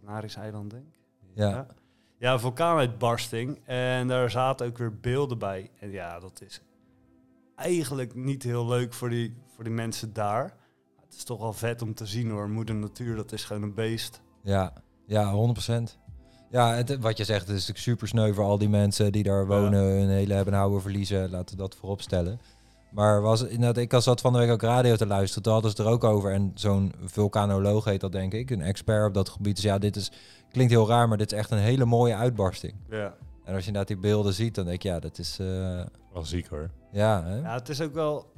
[SPEAKER 4] Canarisch eiland denk ik.
[SPEAKER 2] ja.
[SPEAKER 4] Ja, vulkaanuitbarsting. En daar zaten ook weer beelden bij. En ja, dat is eigenlijk niet heel leuk voor die, voor die mensen daar. Het is toch wel vet om te zien hoor. Moeder natuur, dat is gewoon een beest.
[SPEAKER 2] Ja, ja 100%. Ja, het, wat je zegt, het is natuurlijk super sneu voor al die mensen die daar wonen, hun hele hebben en houden verliezen. Laten we dat voorop stellen. Maar was, het- inderdaad, ik zat van de week ook radio te luisteren, toen hadden ze het er ook over. En zo'n vulkanoloog heet dat denk ik, een expert op dat gebied. Dus ja, dit is, klinkt heel raar, maar dit is echt een hele mooie uitbarsting.
[SPEAKER 4] Ja.
[SPEAKER 2] En als je inderdaad die beelden ziet, dan denk je, ja, dat is... eh,
[SPEAKER 3] Wel ziek hoor.
[SPEAKER 2] ja, hè?
[SPEAKER 4] ja, het is ook wel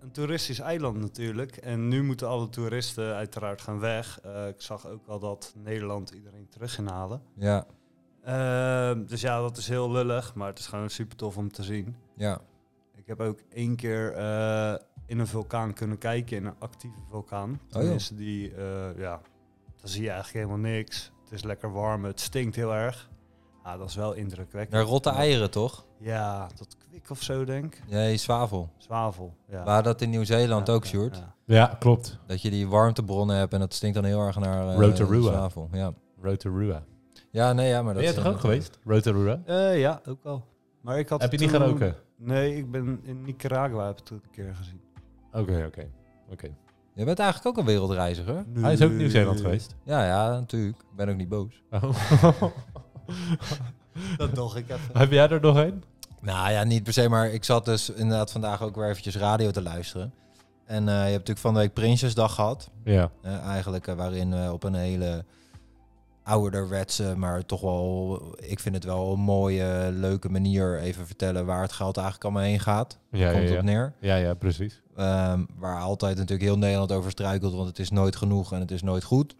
[SPEAKER 4] een toeristisch eiland natuurlijk. En nu moeten alle toeristen uiteraard gaan weg. Eh, ik zag ook al dat Nederland iedereen terug ging halen.
[SPEAKER 2] ja,
[SPEAKER 4] Ehm, dus ja, dat is heel lullig, maar het is gewoon super tof om te zien.
[SPEAKER 2] ja.
[SPEAKER 4] Ik heb ook één keer eh, in een vulkaan kunnen kijken, in een actieve vulkaan.
[SPEAKER 2] Oh, joh.
[SPEAKER 4] Tenminste, die, eh, ja, dan zie je eigenlijk helemaal niks. Het is lekker warm, het stinkt heel erg. Ja, dat is wel indrukwekkend.
[SPEAKER 2] Naar rotte eieren, toch?
[SPEAKER 4] Ja, dat kwik of zo, denk ik.
[SPEAKER 2] Nee, zwavel.
[SPEAKER 4] Zwavel, ja.
[SPEAKER 2] Waar dat in Nieuw-Zeeland
[SPEAKER 4] Ja,
[SPEAKER 2] ook,
[SPEAKER 4] ja,
[SPEAKER 2] Sjoerd.
[SPEAKER 4] ja.
[SPEAKER 3] Ja, klopt.
[SPEAKER 2] Dat je die warmtebronnen hebt en dat stinkt dan heel erg naar eh
[SPEAKER 3] Rotorua.
[SPEAKER 2] zwavel. Ja.
[SPEAKER 3] Rotorua.
[SPEAKER 2] ja, nee, ja, maar dat
[SPEAKER 3] Ben
[SPEAKER 2] is
[SPEAKER 3] jij
[SPEAKER 2] eh,
[SPEAKER 3] toch
[SPEAKER 2] dan-
[SPEAKER 3] ook geweest? Rotorua?
[SPEAKER 4] Eh, ja, ook wel. Maar ik had
[SPEAKER 3] Heb je niet
[SPEAKER 4] toen-
[SPEAKER 3] geroken?
[SPEAKER 4] Nee, ik ben in Nicaragua heb ik het een keer gezien.
[SPEAKER 3] Oké, oké. oké.
[SPEAKER 2] Je bent eigenlijk ook een wereldreiziger.
[SPEAKER 3] Hij is ook Nieuw-Zeeland geweest.
[SPEAKER 2] Ja, ja, natuurlijk. Ik ben ook niet boos.
[SPEAKER 3] Oh.
[SPEAKER 4] Dat dacht ik even.
[SPEAKER 3] Heb jij er nog een?
[SPEAKER 2] Nou ja, niet per se, maar ik zat dus inderdaad vandaag ook weer eventjes radio te luisteren. En eh, je hebt natuurlijk van de week Prinsjesdag gehad.
[SPEAKER 3] Ja.
[SPEAKER 2] Eh, eigenlijk eh, waarin we op een hele ouderwetse, maar toch wel, ik vind het wel een mooie, leuke manier even vertellen waar het geld eigenlijk allemaal heen gaat.
[SPEAKER 3] Ja, ja,
[SPEAKER 2] Komt op
[SPEAKER 3] ja.
[SPEAKER 2] neer.
[SPEAKER 3] ja, ja precies.
[SPEAKER 2] Ehm, waar altijd natuurlijk heel Nederland over struikelt, want het is nooit genoeg en het is nooit goed.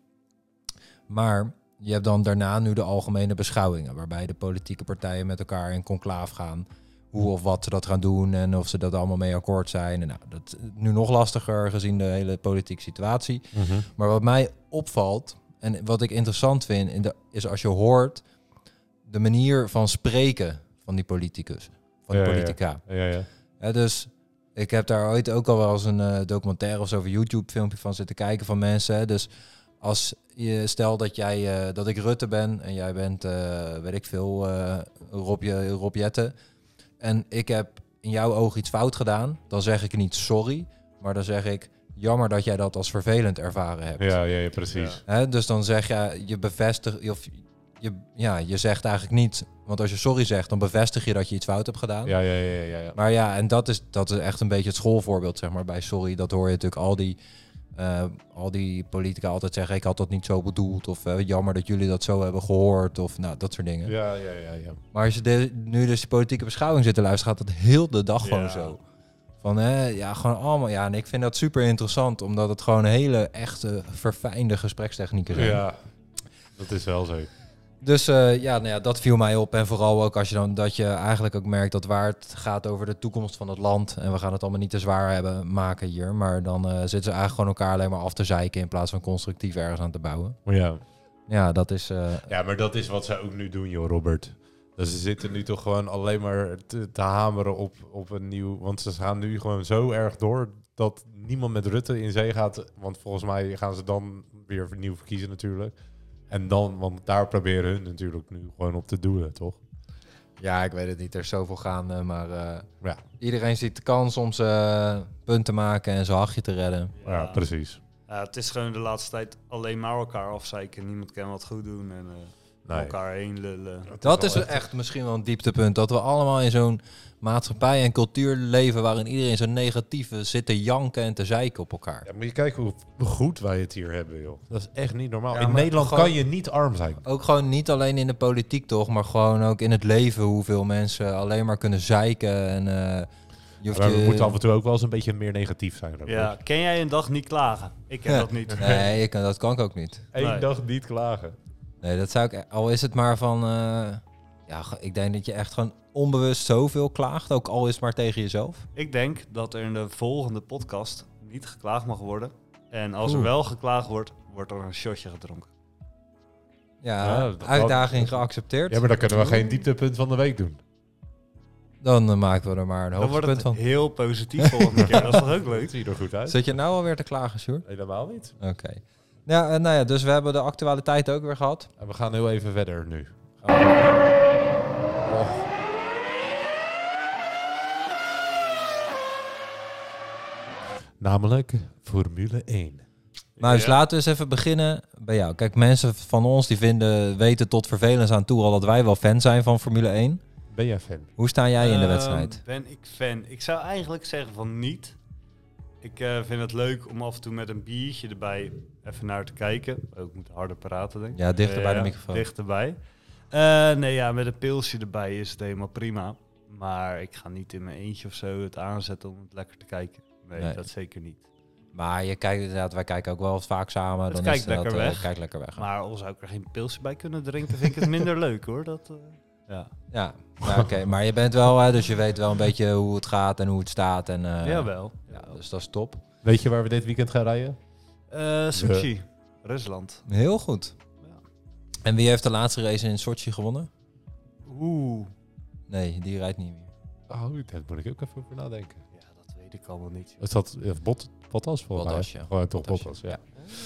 [SPEAKER 2] Maar je hebt dan daarna nu de algemene beschouwingen, waarbij de politieke partijen met elkaar in conclaaf gaan. Hoe of wat ze dat gaan doen en of ze dat allemaal mee akkoord zijn. En nou, dat is nu nog lastiger gezien de hele politieke situatie.
[SPEAKER 3] Mhm.
[SPEAKER 2] Maar wat mij opvalt en wat ik interessant vind, in de- is als je hoort de manier van spreken van die politicus, van die
[SPEAKER 3] Ja, ja, ja.
[SPEAKER 2] politica.
[SPEAKER 3] Ja, ja.
[SPEAKER 2] Hè, dus ik heb daar ooit ook al wel eens een eh, documentaire of zo over YouTube filmpje van zitten kijken van mensen. Hè. Dus als je stel dat jij eh, dat ik Rutte ben en jij bent, eh, weet ik veel, eh Rob, Je- Rob Jetten. En ik heb in jouw oog iets fout gedaan, dan zeg ik niet sorry, maar dan zeg ik jammer dat jij dat als vervelend ervaren hebt.
[SPEAKER 3] Ja, ja, ja, precies.
[SPEAKER 2] Hè, dus dan zeg je, je bevestigt, of je, ja, je zegt eigenlijk niet, want als je sorry zegt, dan bevestig je dat je iets fout hebt gedaan.
[SPEAKER 3] Ja, ja, ja, ja. ja, ja.
[SPEAKER 2] Maar ja, en dat is, dat is echt een beetje het schoolvoorbeeld, zeg maar. Bij sorry, dat hoor je natuurlijk al die, eh, al die politica altijd zeggen... ik had dat niet zo bedoeld, of eh, jammer dat jullie dat zo hebben gehoord... of nou, dat soort dingen.
[SPEAKER 3] Ja, ja, ja, ja.
[SPEAKER 2] Maar als je de- nu dus die politieke beschouwing zit te luisteren... gaat dat heel de dag gewoon
[SPEAKER 4] Ja.
[SPEAKER 2] zo. Van, hè, ja, gewoon allemaal... Ja, en ik vind dat super interessant... omdat het gewoon hele echte, verfijnde gesprekstechnieken zijn.
[SPEAKER 3] Ja, dat is wel zo.
[SPEAKER 2] Dus eh, ja, nou ja, dat viel mij op. En vooral ook als je dan dat je eigenlijk ook merkt dat waar het gaat over de toekomst van het land. En we gaan het allemaal niet te zwaar hebben maken hier. Maar dan eh, zitten ze eigenlijk gewoon elkaar alleen maar af te zeiken in plaats van constructief ergens aan te bouwen.
[SPEAKER 3] Maar ja.
[SPEAKER 2] Ja, dat is. eh,
[SPEAKER 3] ja, maar dat is wat ze ook nu doen, joh, Robert. Dus ze zitten nu toch gewoon alleen maar te, te hameren op, op een nieuw... Want ze gaan nu gewoon zo erg door dat niemand met Rutte in zee gaat. Want volgens mij gaan ze dan weer nieuw verkiezen natuurlijk. En dan, want daar proberen hun natuurlijk nu gewoon op te doelen, toch?
[SPEAKER 2] ja, ik weet het niet. Er is zoveel gaande. Maar eh,
[SPEAKER 3] Ja.
[SPEAKER 2] iedereen ziet de kans om zijn punt te maken en zijn hachje te redden.
[SPEAKER 3] Ja, precies.
[SPEAKER 4] Ja, het is gewoon de laatste tijd alleen maar elkaar afzeiken. Niemand kan wat goed doen en eh,
[SPEAKER 3] Nee.
[SPEAKER 4] elkaar heen lullen.
[SPEAKER 2] Dat is echt misschien wel een dieptepunt. Dat we allemaal in zo'n maatschappij en cultuur leven waarin iedereen zo negatief eh, zit te janken en te zeiken op elkaar.
[SPEAKER 3] Ja, moet je kijken hoe goed wij het hier hebben, joh. Dat is echt niet normaal.
[SPEAKER 2] Ja,
[SPEAKER 3] in
[SPEAKER 2] maar
[SPEAKER 3] Nederland
[SPEAKER 2] gewoon-
[SPEAKER 3] kan je niet arm zijn.
[SPEAKER 2] Ook gewoon niet alleen in de politiek toch, maar gewoon ook in het leven hoeveel mensen alleen maar kunnen zeiken en eh, je hoeft
[SPEAKER 3] Maar we
[SPEAKER 2] je-
[SPEAKER 3] moeten af en toe ook wel eens een beetje meer negatief zijn. Robert.
[SPEAKER 4] Ja, ken jij een dag niet klagen? Ik heb
[SPEAKER 2] Ja.
[SPEAKER 4] dat niet.
[SPEAKER 2] Nee, ik kan, dat kan ik ook niet.
[SPEAKER 3] Eén
[SPEAKER 4] Nee.
[SPEAKER 3] dag niet klagen.
[SPEAKER 2] Nee, dat zou ik e- al is het maar van eh, ja, ge- ik denk dat je echt gewoon onbewust zoveel klaagt, ook al is het maar tegen jezelf.
[SPEAKER 4] Ik denk dat er in de volgende podcast niet geklaagd mag worden. En als er
[SPEAKER 2] Oeh.
[SPEAKER 4] wel geklaagd wordt, wordt er een shotje gedronken.
[SPEAKER 2] Ja,
[SPEAKER 3] Ja, dat-
[SPEAKER 2] uitdaging geaccepteerd.
[SPEAKER 3] Ja, maar dan kunnen we geen dieptepunt van de week doen.
[SPEAKER 2] Dan eh, maken we er maar een
[SPEAKER 4] Dan wordt
[SPEAKER 2] hoogtepunt
[SPEAKER 4] het
[SPEAKER 2] van.
[SPEAKER 4] heel positief volgende keer. Dat is toch ook leuk?
[SPEAKER 3] Het ziet er goed uit.
[SPEAKER 2] Zit je nou alweer te klagen, Sjoerd?
[SPEAKER 3] Helemaal niet.
[SPEAKER 2] Oké. Nou, eh, nou ja, dus we hebben de actualiteit ook weer gehad.
[SPEAKER 3] En we gaan heel even verder nu. Oh. Namelijk Formule 1.
[SPEAKER 2] Maar dus
[SPEAKER 4] Ja.
[SPEAKER 2] laten we eens even beginnen bij jou. Kijk, mensen van ons die vinden, weten tot vervelens aan toe al dat wij wel fan zijn van Formule 1.
[SPEAKER 3] Ben jij fan?
[SPEAKER 2] Hoe sta jij in de
[SPEAKER 4] Ehm,
[SPEAKER 2] wedstrijd?
[SPEAKER 4] Ben ik fan? Ik zou eigenlijk zeggen van niet. Ik eh, vind het leuk om af en toe met een biertje erbij even naar te kijken. Ook moet harder praten, denk ik.
[SPEAKER 2] Ja, dichter bij de
[SPEAKER 4] Ja,
[SPEAKER 2] microfoon.
[SPEAKER 4] Dichterbij. Eh, nee, ja, met een pilsje erbij is het helemaal prima. Maar ik ga niet in mijn eentje of zo het aanzetten om het lekker te kijken. Nee,
[SPEAKER 2] Nee.
[SPEAKER 4] dat zeker niet.
[SPEAKER 2] Maar je kijkt inderdaad, wij kijken ook wel vaak samen.
[SPEAKER 4] Het
[SPEAKER 2] dan
[SPEAKER 4] kijkt
[SPEAKER 2] is het inderdaad,
[SPEAKER 4] lekker
[SPEAKER 2] eh,
[SPEAKER 4] weg.
[SPEAKER 2] kijkt lekker weg.
[SPEAKER 4] Maar al zou ik er geen pilsje bij kunnen drinken, vind ik het minder leuk hoor. Dat, eh, ja.
[SPEAKER 2] Ja, maar oké. maar je bent wel, hè, dus je weet wel een beetje hoe het gaat en hoe het staat. En, eh,
[SPEAKER 4] Jawel.
[SPEAKER 2] Ja, dus dat is top.
[SPEAKER 3] Weet je waar we dit weekend gaan rijden?
[SPEAKER 4] Eh, Sochi, Rusland.
[SPEAKER 2] Heel goed. En wie heeft de laatste race in Sochi gewonnen?
[SPEAKER 4] Oeh.
[SPEAKER 2] Nee, die rijdt niet meer.
[SPEAKER 3] Oh, daar moet ik ook even over nadenken.
[SPEAKER 4] Ja, dat weet ik allemaal niet.
[SPEAKER 3] Is dat of bot, Bottas volgens
[SPEAKER 2] Bottas,
[SPEAKER 3] mij?
[SPEAKER 2] ja.
[SPEAKER 3] Gewoon toch
[SPEAKER 2] Bottas,
[SPEAKER 3] Bottas, ja.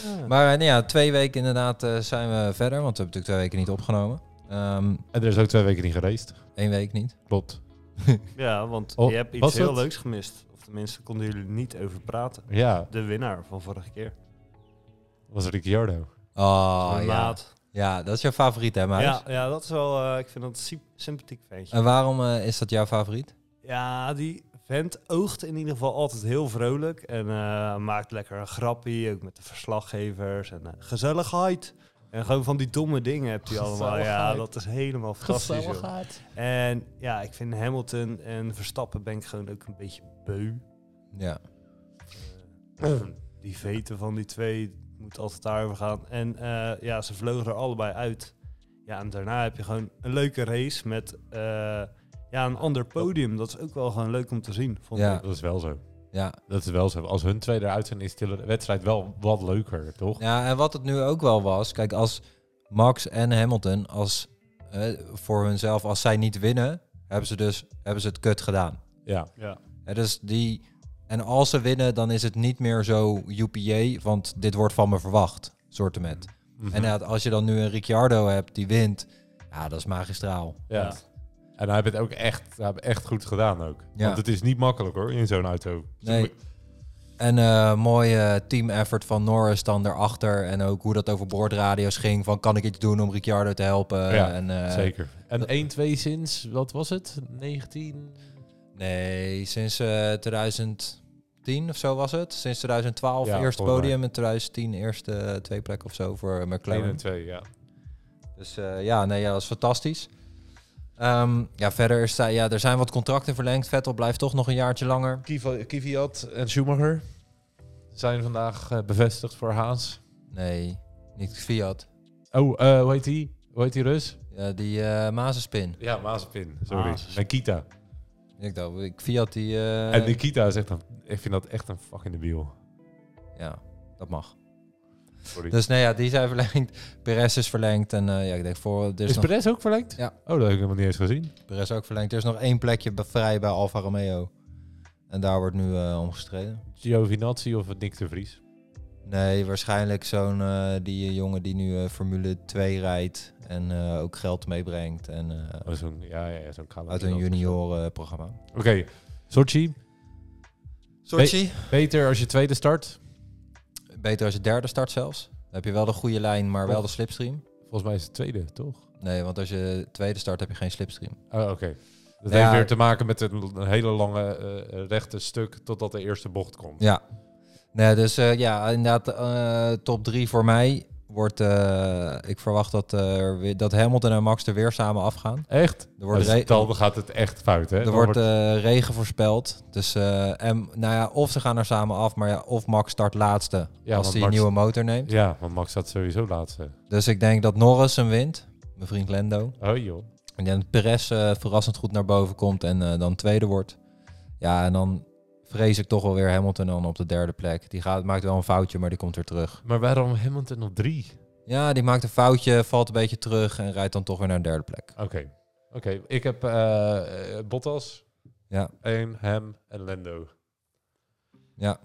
[SPEAKER 2] ja.
[SPEAKER 4] joh.
[SPEAKER 2] Maar eh, nou ja, twee weken inderdaad eh, zijn we verder, want we hebben natuurlijk twee weken niet opgenomen. Eén
[SPEAKER 3] En er is ook twee weken niet gereisd.
[SPEAKER 2] Eén week niet.
[SPEAKER 3] Klopt.
[SPEAKER 4] Ja, want
[SPEAKER 3] Oh,
[SPEAKER 4] je hebt iets
[SPEAKER 3] was
[SPEAKER 4] heel
[SPEAKER 3] het?
[SPEAKER 4] leuks gemist. Of tenminste, konden jullie niet over praten.
[SPEAKER 3] Ja,
[SPEAKER 4] De winnaar van vorige keer.
[SPEAKER 3] was Ricciardo. Ah,
[SPEAKER 2] Oh ja.
[SPEAKER 4] Maat.
[SPEAKER 2] ja, dat is jouw favoriet hè, Maas?
[SPEAKER 4] Ja, ja, dat is wel... eh, ik vind dat een sy- sympathiek ventje.
[SPEAKER 2] En waarom eh, is dat jouw favoriet?
[SPEAKER 4] Ja, die vent oogt in ieder geval altijd heel vrolijk. En eh, maakt lekker een grappie, ook met de verslaggevers. En eh, gezelligheid. En gewoon van die domme dingen hebt hij allemaal. Ja,
[SPEAKER 3] Gezelligheid.
[SPEAKER 4] dat is helemaal fantastisch. joh. En ja, ik vind Hamilton en Verstappen ben ik gewoon ook een beetje beu.
[SPEAKER 2] Ja.
[SPEAKER 4] Eh, die veten van die twee het moet altijd daarover gaan. En eh, ja, ze vlogen er allebei uit. Ja, en daarna heb je gewoon een leuke race met eh, ja, een ander podium. Dat is ook wel gewoon leuk om te zien. Vond
[SPEAKER 2] Ja.
[SPEAKER 4] ik.
[SPEAKER 3] Dat is wel zo.
[SPEAKER 2] Ja.
[SPEAKER 3] Dat is wel zo. Als hun twee eruit zijn, is de wedstrijd wel wat leuker, toch?
[SPEAKER 2] ja, en wat het nu ook wel was, kijk, als Max en Hamilton, als eh, voor hunzelf, als zij niet winnen, hebben ze dus hebben ze het kut gedaan.
[SPEAKER 3] Ja.
[SPEAKER 4] Ja.
[SPEAKER 2] Hè, dus die, en als ze winnen, dan is het niet meer zo UPA, want dit wordt van me verwacht, soorten met.
[SPEAKER 3] Mhm.
[SPEAKER 2] En eh, inderdaad, als je dan nu een Ricciardo hebt die wint, ja, dat is magistraal.
[SPEAKER 3] Ja. En hij heeft het ook echt, hij heeft echt goed gedaan ook.
[SPEAKER 2] Ja.
[SPEAKER 3] Want het is niet makkelijk hoor, in zo'n auto.
[SPEAKER 2] Nee. En eh mooie team effort van Norris dan daarachter. En ook hoe dat over boordradio's ging. Van kan ik iets doen om Ricciardo te helpen?
[SPEAKER 3] Ja,
[SPEAKER 2] en, eh,
[SPEAKER 3] Zeker.
[SPEAKER 2] dat-
[SPEAKER 3] En 1-2 sinds, wat was het? 19?
[SPEAKER 2] Nee, sinds eh, 2010 of zo was het. Sinds 2012
[SPEAKER 3] Ja,
[SPEAKER 2] eerste
[SPEAKER 3] volgens mij.
[SPEAKER 2] podium. En 2010 eerste eh, twee plek of zo voor McLaren.
[SPEAKER 3] 1 en 2, ja.
[SPEAKER 2] Dus eh, ja, nee, ja, dat is fantastisch. Ehm, ja, verder is, daar- ja, er zijn wat contracten verlengd. Vettel blijft toch nog een jaartje langer.
[SPEAKER 3] Kvyat en Schumacher zijn vandaag eh, bevestigd voor Haas.
[SPEAKER 2] Nee, niet Fiat.
[SPEAKER 3] Oh, eh, hoe heet die? Hoe heet die Rus?
[SPEAKER 2] Ja, die eh Mazenspin.
[SPEAKER 3] Ja, Mazepin. Sorry.
[SPEAKER 4] Mazepin.
[SPEAKER 3] Nikita.
[SPEAKER 2] Ik dacht, ik- Fiat die... eh,
[SPEAKER 3] en Nikita is echt een... Ik vind dat echt een fucking debiel.
[SPEAKER 2] Ja, dat mag.
[SPEAKER 3] Sorry.
[SPEAKER 2] Dus nee, ja, die zijn verlengd. Perez is verlengd. En eh, ja, ik denk voor... Er is,
[SPEAKER 3] is
[SPEAKER 2] nog,
[SPEAKER 3] Perez ook verlengd?
[SPEAKER 2] Ja.
[SPEAKER 3] Oh, dat heb ik helemaal niet eens gezien.
[SPEAKER 2] Perez ook verlengd. Er is nog één plekje be- vrij bij Alfa Romeo. En daar wordt nu eh om gestreden.
[SPEAKER 3] Giovinazzi of Nick de Vries?
[SPEAKER 2] Nee, waarschijnlijk zo'n eh, die jongen die nu eh, Formule 2 rijdt. En eh, ook geld meebrengt. En eh,
[SPEAKER 3] Oh, zo'n... Ja, ja, ja, zo'n kale
[SPEAKER 2] uit een
[SPEAKER 3] gast.
[SPEAKER 2] juniorenprogramma.
[SPEAKER 3] Oké. Sochi,
[SPEAKER 2] Sochi?
[SPEAKER 3] beter als je tweede start.
[SPEAKER 2] Beter als je derde start zelfs. Dan heb je wel de goede lijn, maar wel
[SPEAKER 3] Of-
[SPEAKER 2] de slipstream.
[SPEAKER 3] Volgens mij is het tweede, toch?
[SPEAKER 2] Nee, want als je tweede start heb je geen slipstream.
[SPEAKER 3] Oh, oké. Dat
[SPEAKER 2] Nou Ja.
[SPEAKER 3] heeft weer te maken met een, een hele lange eh, rechte stuk totdat de eerste bocht komt.
[SPEAKER 2] Ja. Nee, dus eh, ja, inderdaad, eh, top drie voor mij wordt... eh, ik verwacht dat, er weer, dat Hamilton en Max er weer samen afgaan.
[SPEAKER 3] Echt?
[SPEAKER 2] Er wordt,
[SPEAKER 3] Dus
[SPEAKER 2] re-
[SPEAKER 3] dan gaat het echt fout, hè?
[SPEAKER 2] er
[SPEAKER 3] Dan
[SPEAKER 2] wordt eh, regen voorspeld. Dus, eh, en, nou ja, of ze gaan er samen af, maar ja, of Max start laatste
[SPEAKER 3] Ja,
[SPEAKER 2] als
[SPEAKER 3] want
[SPEAKER 2] hij een
[SPEAKER 3] Max-
[SPEAKER 2] nieuwe motor neemt.
[SPEAKER 3] Ja, want Max staat sowieso laatste.
[SPEAKER 2] Dus ik denk dat Norris hem wint, mijn vriend Lendo.
[SPEAKER 3] Oh joh.
[SPEAKER 2] En dan Perez eh, verrassend goed naar boven komt en eh, dan tweede wordt. Ja, en dan vrees ik toch wel weer Hamilton dan op de derde plek. Die gaat, maakt wel een foutje, maar die komt weer terug.
[SPEAKER 3] Maar waarom Hamilton op drie?
[SPEAKER 2] Ja, die maakt een foutje, valt een beetje terug en rijdt dan toch weer naar de derde plek.
[SPEAKER 3] Oké. Oké, ik heb eh, eh, Bottas,
[SPEAKER 2] Ja,
[SPEAKER 3] één, hem en Lando.
[SPEAKER 2] ja.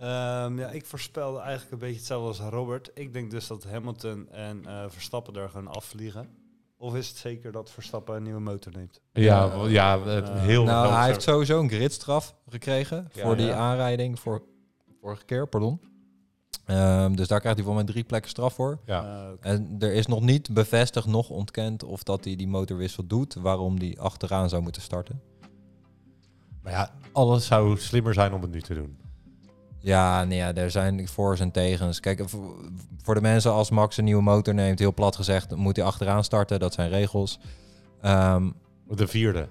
[SPEAKER 4] Ehm, ja, ik voorspelde eigenlijk een beetje hetzelfde als Robert. Ik denk dus dat Hamilton en eh, Verstappen daar gewoon afvliegen. Of is het zeker dat Verstappen een nieuwe motor neemt?
[SPEAKER 3] Ja,
[SPEAKER 4] Eh,
[SPEAKER 3] wel- ja, het-
[SPEAKER 4] eh,
[SPEAKER 3] heel
[SPEAKER 2] Nou,
[SPEAKER 3] groot
[SPEAKER 2] hij
[SPEAKER 3] zo.
[SPEAKER 2] heeft sowieso een gridstraf gekregen
[SPEAKER 3] Ja,
[SPEAKER 2] voor die
[SPEAKER 3] ja.
[SPEAKER 2] aanrijding voor vorige keer, pardon. Ehm, dus daar krijgt hij voor mij drie plekken straf voor.
[SPEAKER 3] Ja.
[SPEAKER 4] Eh, oké.
[SPEAKER 2] En er is nog niet bevestigd, nog ontkend of dat hij die motorwissel doet, waarom hij achteraan zou moeten starten.
[SPEAKER 3] Maar ja, alles zou slimmer zijn om het nu te doen.
[SPEAKER 2] Ja, nee, ja, er zijn voor's en tegens. Kijk, v- voor de mensen als Max een nieuwe motor neemt, heel plat gezegd, dan moet hij achteraan starten. Dat zijn regels. Ehm,
[SPEAKER 3] De vierde.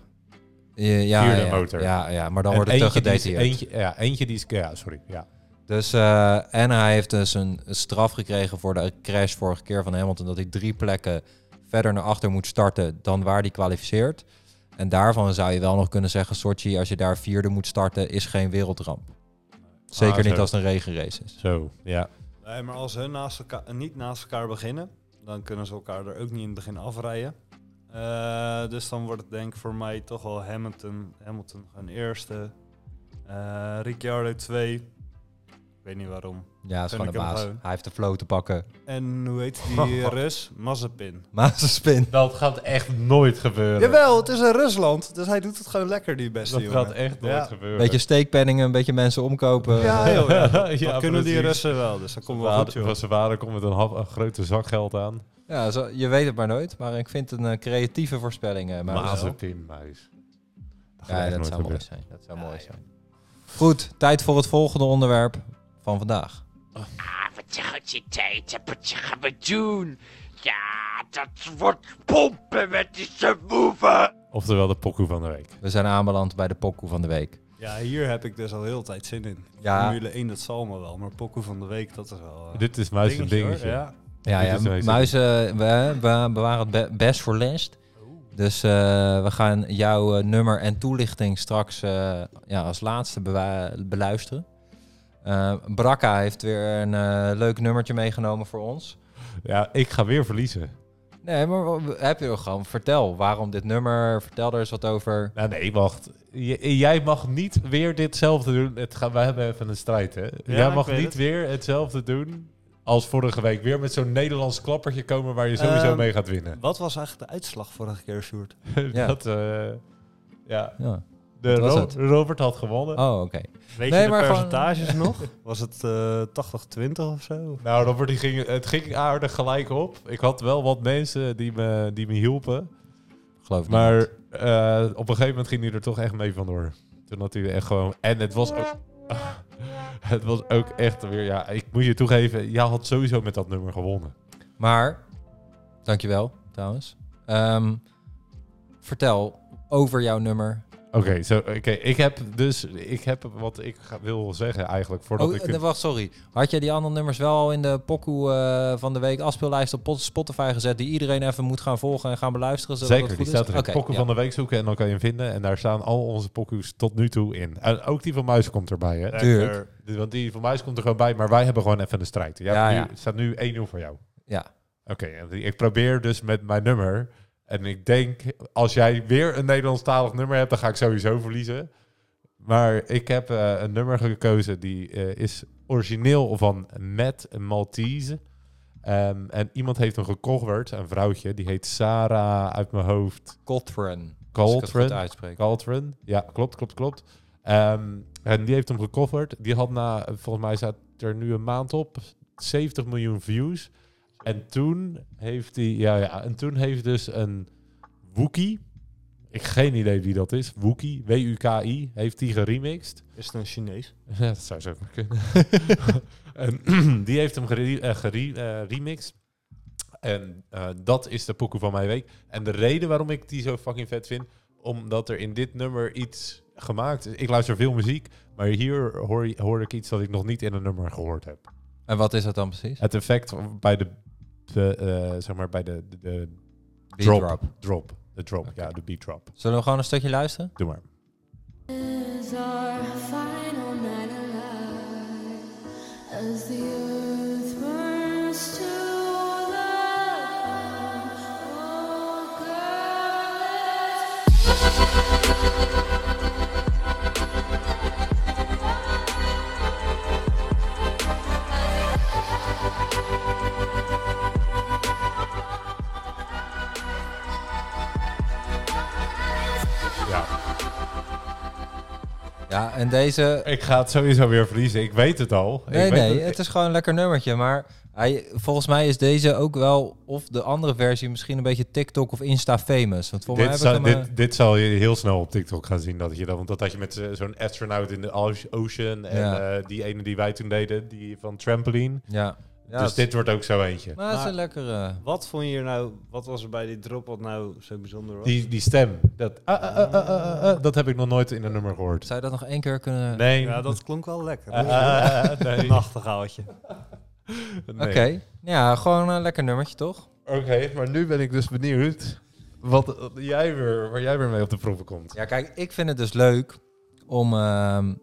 [SPEAKER 2] ja, ja,
[SPEAKER 3] Vierde
[SPEAKER 2] ja,
[SPEAKER 3] motor.
[SPEAKER 2] Ja, ja, maar dan
[SPEAKER 3] En
[SPEAKER 2] wordt het te
[SPEAKER 3] eentje die is-
[SPEAKER 2] gedetailleerd.
[SPEAKER 3] Eentje, ja, eentje die is... Ja, sorry. Ja.
[SPEAKER 2] Dus, eh, en hij heeft dus een straf gekregen voor de crash vorige keer van Hamilton. Dat hij drie plekken verder naar achter moet starten dan waar hij kwalificeert. En daarvan zou je wel nog kunnen zeggen, Sochi, als je daar vierde moet starten, is geen wereldramp. Zeker
[SPEAKER 3] Ah,
[SPEAKER 2] niet
[SPEAKER 3] zo.
[SPEAKER 2] als het een regenrace is.
[SPEAKER 3] Zo, ja.
[SPEAKER 4] Nee, maar als ze naast elkaar, niet naast elkaar beginnen, dan kunnen ze elkaar er ook niet in het begin afrijden. Eh, dus dan wordt het denk ik voor mij toch wel Hamilton, Hamilton gaan eerste. Eh, Ricciardo 2. Ik weet niet waarom.
[SPEAKER 2] Ja, is
[SPEAKER 4] Vind
[SPEAKER 2] gewoon
[SPEAKER 4] ik
[SPEAKER 2] de
[SPEAKER 4] hem
[SPEAKER 2] baas.
[SPEAKER 4] gewoon.
[SPEAKER 2] Hij heeft de flow te pakken.
[SPEAKER 4] En hoe heet die Rus? Mazepin.
[SPEAKER 2] Mazenspin.
[SPEAKER 3] Dat gaat echt nooit gebeuren.
[SPEAKER 4] Jawel, het is in Rusland, dus hij doet het gewoon lekker, die beste
[SPEAKER 3] Dat
[SPEAKER 4] jongen.
[SPEAKER 3] gaat echt nooit
[SPEAKER 4] Ja.
[SPEAKER 3] gebeuren.
[SPEAKER 2] Beetje steekpenningen, een beetje mensen omkopen.
[SPEAKER 4] Ja, joh, ja. Dat
[SPEAKER 3] Ja,
[SPEAKER 4] kunnen die
[SPEAKER 3] precies.
[SPEAKER 4] Russen wel, dus dat komt wel goed, joh.
[SPEAKER 3] Waar, ze waren komt met een, hap- een grote zak geld aan.
[SPEAKER 2] Ja, zo, je weet het maar nooit. Maar ik vind het een eh, creatieve voorspelling. eh, maar
[SPEAKER 3] Mazepin, muis.
[SPEAKER 2] Ja, dat zou mooi
[SPEAKER 3] mooi.
[SPEAKER 2] zijn. Dat zou mooi zijn. Goed, tijd voor het volgende onderwerp van vandaag.
[SPEAKER 5] Wat je gaat je tijd en wat je gaan we doen. Ja, dat wordt pompen met die subwoofer.
[SPEAKER 3] Oftewel de pokoe van de week.
[SPEAKER 2] We zijn aanbeland bij de pokoe van de week.
[SPEAKER 4] Ja, hier heb ik dus al heel de tijd zin in.
[SPEAKER 2] Ja.
[SPEAKER 4] Formule 1, dat zal me wel, maar Pokoe van de Week, dat is wel... eh,
[SPEAKER 3] Dit is muis een
[SPEAKER 4] hoor.
[SPEAKER 3] dingetje.
[SPEAKER 4] Ja.
[SPEAKER 2] Ja,
[SPEAKER 3] Dit
[SPEAKER 2] ja
[SPEAKER 3] is deze.
[SPEAKER 2] muizen, we, we bewaren het be- best voor last. Dus eh, we gaan jouw eh, nummer en toelichting straks eh, ja, als laatste bewa- beluisteren. Eh Brakka heeft weer een eh, leuk nummertje meegenomen voor ons.
[SPEAKER 3] Ja, ik ga weer verliezen.
[SPEAKER 2] Nee, maar w- heb je er gewoon? Vertel waarom dit nummer. Vertel er eens wat over.
[SPEAKER 3] Nou, nee, wacht. J- jij mag niet weer ditzelfde doen. Het gaan, wij hebben even een strijd, hè? jij
[SPEAKER 4] ik
[SPEAKER 3] mag
[SPEAKER 4] weet
[SPEAKER 3] niet
[SPEAKER 4] het.
[SPEAKER 3] weer hetzelfde doen als vorige week. Weer met zo'n Nederlands klappertje komen waar je sowieso
[SPEAKER 4] Ehm,
[SPEAKER 3] mee gaat winnen.
[SPEAKER 4] Wat was eigenlijk de uitslag vorige keer, Sjoerd?
[SPEAKER 2] ja.
[SPEAKER 3] Dat, eh, ja.
[SPEAKER 2] Ja.
[SPEAKER 3] De
[SPEAKER 2] was
[SPEAKER 3] Ro-
[SPEAKER 2] het?
[SPEAKER 3] Robert had gewonnen.
[SPEAKER 2] Oh, oké.
[SPEAKER 4] Weet
[SPEAKER 2] Nee,
[SPEAKER 4] je de
[SPEAKER 2] maar gewoon-
[SPEAKER 4] percentages nog? Was het eh, 80-20 of zo?
[SPEAKER 3] Nou, Robert, die ging, het ging aardig gelijk op. Ik had wel wat mensen die me, die me hielpen.
[SPEAKER 2] Geloof ik
[SPEAKER 3] Maar eh, op een gegeven moment ging hij er toch echt mee vandoor. Toen had hij echt gewoon... En het was ook... het was ook echt weer... Ja, ik moet je toegeven, jij had sowieso met dat nummer gewonnen.
[SPEAKER 2] Maar, dankjewel trouwens. Ehm, vertel over jouw nummer.
[SPEAKER 3] Oké, zo, oké, ik heb dus... Ik heb wat ik ga- wil zeggen eigenlijk voordat
[SPEAKER 2] Oh,
[SPEAKER 3] ik...
[SPEAKER 2] eh,
[SPEAKER 3] het-
[SPEAKER 2] wacht, sorry. Had jij die andere nummers wel al in de pokoe eh, van de week afspeellijst op pot- Spotify gezet... die iedereen even moet gaan volgen en gaan beluisteren? Zodat
[SPEAKER 3] Zeker,
[SPEAKER 2] het
[SPEAKER 3] die
[SPEAKER 2] goed
[SPEAKER 3] staat
[SPEAKER 2] is?
[SPEAKER 3] er in.
[SPEAKER 2] Oké,
[SPEAKER 3] Pokken
[SPEAKER 2] ja.
[SPEAKER 3] van de week zoeken en dan kan je hem vinden. En daar staan al onze pokoes tot nu toe in. En ook die van Muis komt erbij, hè?
[SPEAKER 2] Tuurlijk.
[SPEAKER 4] Er-
[SPEAKER 3] Dus- Want die van mij komt er gewoon bij, maar wij hebben gewoon even een strijd. Jij
[SPEAKER 2] Ja,
[SPEAKER 3] hebt
[SPEAKER 2] ja.
[SPEAKER 3] Nu, het staat nu 1-0 voor jou.
[SPEAKER 2] Ja.
[SPEAKER 3] Oké, en die- ik probeer dus met mijn nummer. En ik denk, als jij weer een Nederlandstalig nummer hebt, dan ga ik sowieso verliezen. Maar ik heb eh, een nummer gekozen die eh, is origineel van Matt Maltese. Ehm, en iemand heeft hem gecoverd, een vrouwtje, die heet Sarah uit mijn hoofd.
[SPEAKER 2] Coltrane. Als ik het goed
[SPEAKER 3] Coltrane.
[SPEAKER 2] uitspreek.
[SPEAKER 3] Caltron. eh, Ja, klopt, klopt, klopt. Ehm, en die heeft hem gecoverd. Die had na, volgens mij staat er nu een maand op, 70 miljoen views. En toen heeft hij, ja, ja, en toen heeft dus een Wookie, ik geen idee wie dat is, Wookie, W-U-K-I, heeft die geremixed.
[SPEAKER 4] Is het een Chinees?
[SPEAKER 3] Ja, dat zou zo maar kunnen. en die heeft hem eh, geremixed. en eh, dat is de pokoe van mijn week. En de reden waarom ik die zo fucking vet vind, omdat er in dit nummer iets gemaakt is. Ik luister veel muziek, maar hier hoor, je- hoor ik iets dat ik nog niet in een nummer gehoord heb.
[SPEAKER 2] En wat is dat dan precies?
[SPEAKER 3] Het effect bij de, de, eh, zeg maar bij de, de, de
[SPEAKER 2] Beat
[SPEAKER 3] drop,
[SPEAKER 2] drop.
[SPEAKER 3] drop, de drop, ja, de beat drop.
[SPEAKER 2] Zullen we gewoon een stukje luisteren?
[SPEAKER 3] Doe maar.
[SPEAKER 6] is our final night alive as the earth burns to life. Oh, girl, it's
[SPEAKER 3] Ja.
[SPEAKER 2] Ja, en deze...
[SPEAKER 3] Ik ga het sowieso weer verliezen. Ik weet het al.
[SPEAKER 2] Nee,
[SPEAKER 3] ik weet
[SPEAKER 2] nee,
[SPEAKER 3] het-
[SPEAKER 2] het is gewoon een lekker nummertje. Maar hij, volgens mij is deze ook wel, of de andere versie, misschien een beetje TikTok of Insta-famous. Want volgens
[SPEAKER 3] dit,
[SPEAKER 2] mij
[SPEAKER 3] zal,
[SPEAKER 2] heb ik hem... eh,
[SPEAKER 3] dit, dit zal je heel snel op TikTok gaan zien. Dat je dat, want dat had je met eh, zo'n astronaut in de ocean. En
[SPEAKER 2] Ja.
[SPEAKER 3] eh, die ene die wij toen deden, die van trampoline.
[SPEAKER 2] eh, ja. ja
[SPEAKER 3] dus
[SPEAKER 2] het-
[SPEAKER 3] dit wordt ook zo eentje.
[SPEAKER 2] Maar het is
[SPEAKER 4] Maar-
[SPEAKER 2] een lekkere...
[SPEAKER 4] Wat vond je er nou, wat was er bij die drop wat nou zo bijzonder was?
[SPEAKER 3] Die, die stem. Dat, ah, ah, ah, ah, ah, ah, dat heb ik nog nooit in een nummer gehoord.
[SPEAKER 2] Zou je dat nog één keer kunnen...
[SPEAKER 3] Nee.
[SPEAKER 4] ja, dat klonk wel lekker.
[SPEAKER 3] Ah, ah, ah, nee.
[SPEAKER 4] Een Eh, nachtegaaltje.
[SPEAKER 3] Nee.
[SPEAKER 2] Nou, Oké. Ja, gewoon een lekker nummertje, toch?
[SPEAKER 3] Oké, maar nu ben ik dus benieuwd wat, wat jij weer, waar jij weer mee op de proeven komt.
[SPEAKER 2] Ja, kijk, ik vind het dus leuk om... ehm,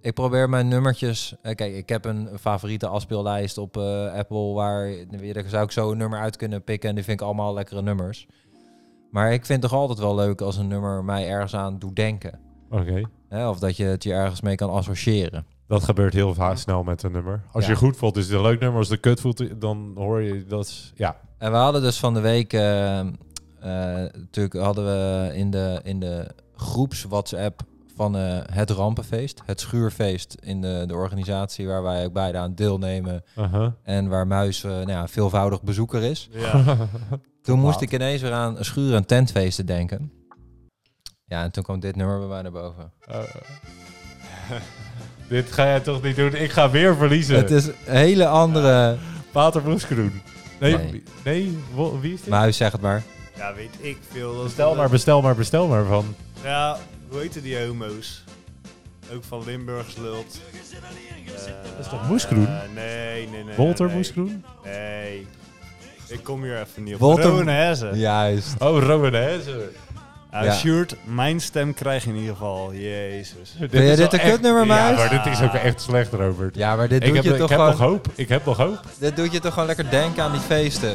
[SPEAKER 2] ik probeer mijn nummertjes... eh, kijk, ik heb een een favoriete afspeellijst op eh, Apple... waar weer, daar zou ik zo een nummer uit kunnen pikken... en die vind ik allemaal lekkere nummers. Maar ik vind het toch altijd wel leuk als een nummer mij ergens aan doet denken.
[SPEAKER 3] Oké.
[SPEAKER 2] Hè? Of dat je het je ergens mee kan associëren.
[SPEAKER 3] Dat gebeurt heel vaak snel met een nummer. Als
[SPEAKER 2] Ja.
[SPEAKER 3] je goed voelt is het een leuk nummer. Als het kut voelt, dan hoor je dat... is- Ja.
[SPEAKER 2] En we hadden dus van de week... eh, eh, natuurlijk hadden we in de, in de groeps WhatsApp van eh, het Rampenfeest. Het Schuurfeest in de, de organisatie waar wij ook beide aan deelnemen.
[SPEAKER 3] Uh-huh.
[SPEAKER 2] En waar Muis eh, nou ja, veelvoudig bezoeker is.
[SPEAKER 4] Ja.
[SPEAKER 2] Toen moest
[SPEAKER 3] laat.
[SPEAKER 2] ik ineens weer aan schuur- en tentfeesten denken. Ja, en toen kwam dit nummer bij mij naar boven.
[SPEAKER 3] Eh. dit ga jij toch niet doen? Ik ga weer verliezen.
[SPEAKER 2] Het is een hele andere...
[SPEAKER 3] Pater Broeskroen. Nee,
[SPEAKER 2] Nee.
[SPEAKER 3] nee. nee, wo- wie is dit?
[SPEAKER 2] Muis, zeg het maar.
[SPEAKER 4] ja, weet ik veel. Dat
[SPEAKER 3] bestel maar, bestel maar, bestel maar van...
[SPEAKER 4] Ja, hoe heten die homo's? Ook van Limburgs lult. dat
[SPEAKER 3] is toch Moeskroen?
[SPEAKER 4] nee, nee, nee.
[SPEAKER 3] Walter
[SPEAKER 4] nee,
[SPEAKER 3] Broeskroen?
[SPEAKER 4] Nee. Ik kom hier even niet op.
[SPEAKER 2] Walter-
[SPEAKER 4] Walter Hezen. Ja.
[SPEAKER 2] Juist.
[SPEAKER 3] Oh, Romanese.
[SPEAKER 2] Ja.
[SPEAKER 4] Eh, Sjoerd, mijn stem krijg je in ieder geval. Jezus.
[SPEAKER 2] Vind je
[SPEAKER 3] is
[SPEAKER 2] dit
[SPEAKER 3] wel
[SPEAKER 2] een kutnummer,
[SPEAKER 3] Ja,
[SPEAKER 2] Muis?
[SPEAKER 3] maar dit is ook echt slecht, Robert.
[SPEAKER 2] Ja, maar dit
[SPEAKER 3] ik
[SPEAKER 2] doet,
[SPEAKER 3] heb,
[SPEAKER 2] je
[SPEAKER 3] ik
[SPEAKER 2] toch
[SPEAKER 3] heb
[SPEAKER 2] gewoon,
[SPEAKER 3] nog hoop. Ik heb nog hoop.
[SPEAKER 2] dit doet je toch gewoon lekker denken aan die feesten.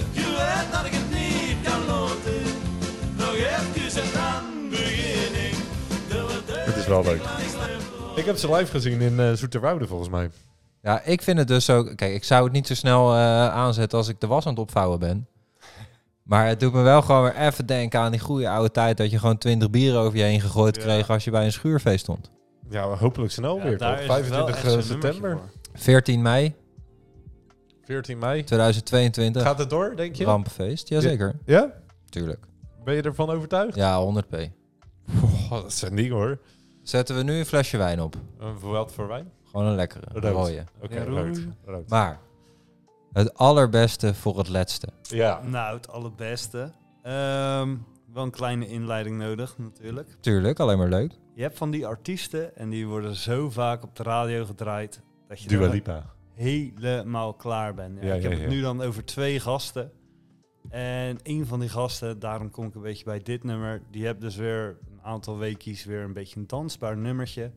[SPEAKER 3] Het is wel leuk. Ik heb ze live gezien in eh Zoeterwoude, volgens mij.
[SPEAKER 2] Ja, ik vind het dus ook... Kijk, ik zou het niet zo snel eh, aanzetten als ik de was aan het opvouwen ben. Maar het doet me wel gewoon weer even denken aan die goede oude tijd... dat je gewoon twintig bieren over je heen gegooid
[SPEAKER 4] Ja.
[SPEAKER 2] kreeg als je bij een schuurfeest stond.
[SPEAKER 3] Ja, maar hopelijk snel
[SPEAKER 4] Ja,
[SPEAKER 3] weer.
[SPEAKER 4] daar
[SPEAKER 3] toch?
[SPEAKER 4] is het wel
[SPEAKER 3] 25
[SPEAKER 4] echt zo'n
[SPEAKER 3] september,
[SPEAKER 4] nummertje voor.
[SPEAKER 2] 14 mei
[SPEAKER 3] 14 mei.
[SPEAKER 2] 2022,
[SPEAKER 3] Gaat het door, denk je?
[SPEAKER 2] rampenfeest. Jazeker,
[SPEAKER 3] Ja?
[SPEAKER 2] tuurlijk.
[SPEAKER 3] Ben je ervan overtuigd?
[SPEAKER 2] Ja, 100p.
[SPEAKER 3] Pff, dat is een ding, hoor.
[SPEAKER 2] Zetten we nu een flesje wijn op.
[SPEAKER 3] Een wat voor wijn?
[SPEAKER 2] Gewoon een lekkere, een
[SPEAKER 3] Rood.
[SPEAKER 2] rode.
[SPEAKER 3] Oké,
[SPEAKER 4] Ja,
[SPEAKER 3] rood.
[SPEAKER 4] rood.
[SPEAKER 3] rood.
[SPEAKER 2] Maar het allerbeste voor het laatste.
[SPEAKER 3] Ja.
[SPEAKER 4] Nou, het allerbeste. Ehm, wel een kleine inleiding nodig, natuurlijk.
[SPEAKER 2] Tuurlijk, alleen maar leuk.
[SPEAKER 4] Je hebt van die artiesten en die worden zo vaak op de radio gedraaid dat je
[SPEAKER 3] Dua
[SPEAKER 4] er
[SPEAKER 3] Lipa.
[SPEAKER 4] helemaal klaar bent. Ja,
[SPEAKER 3] Ja,
[SPEAKER 4] ik
[SPEAKER 3] ja,
[SPEAKER 4] heb
[SPEAKER 3] ja.
[SPEAKER 4] het nu dan over twee gasten. En een van die gasten, daarom kom ik een beetje bij dit nummer, die hebt dus weer een aantal weekjes weer een beetje een dansbaar nummertje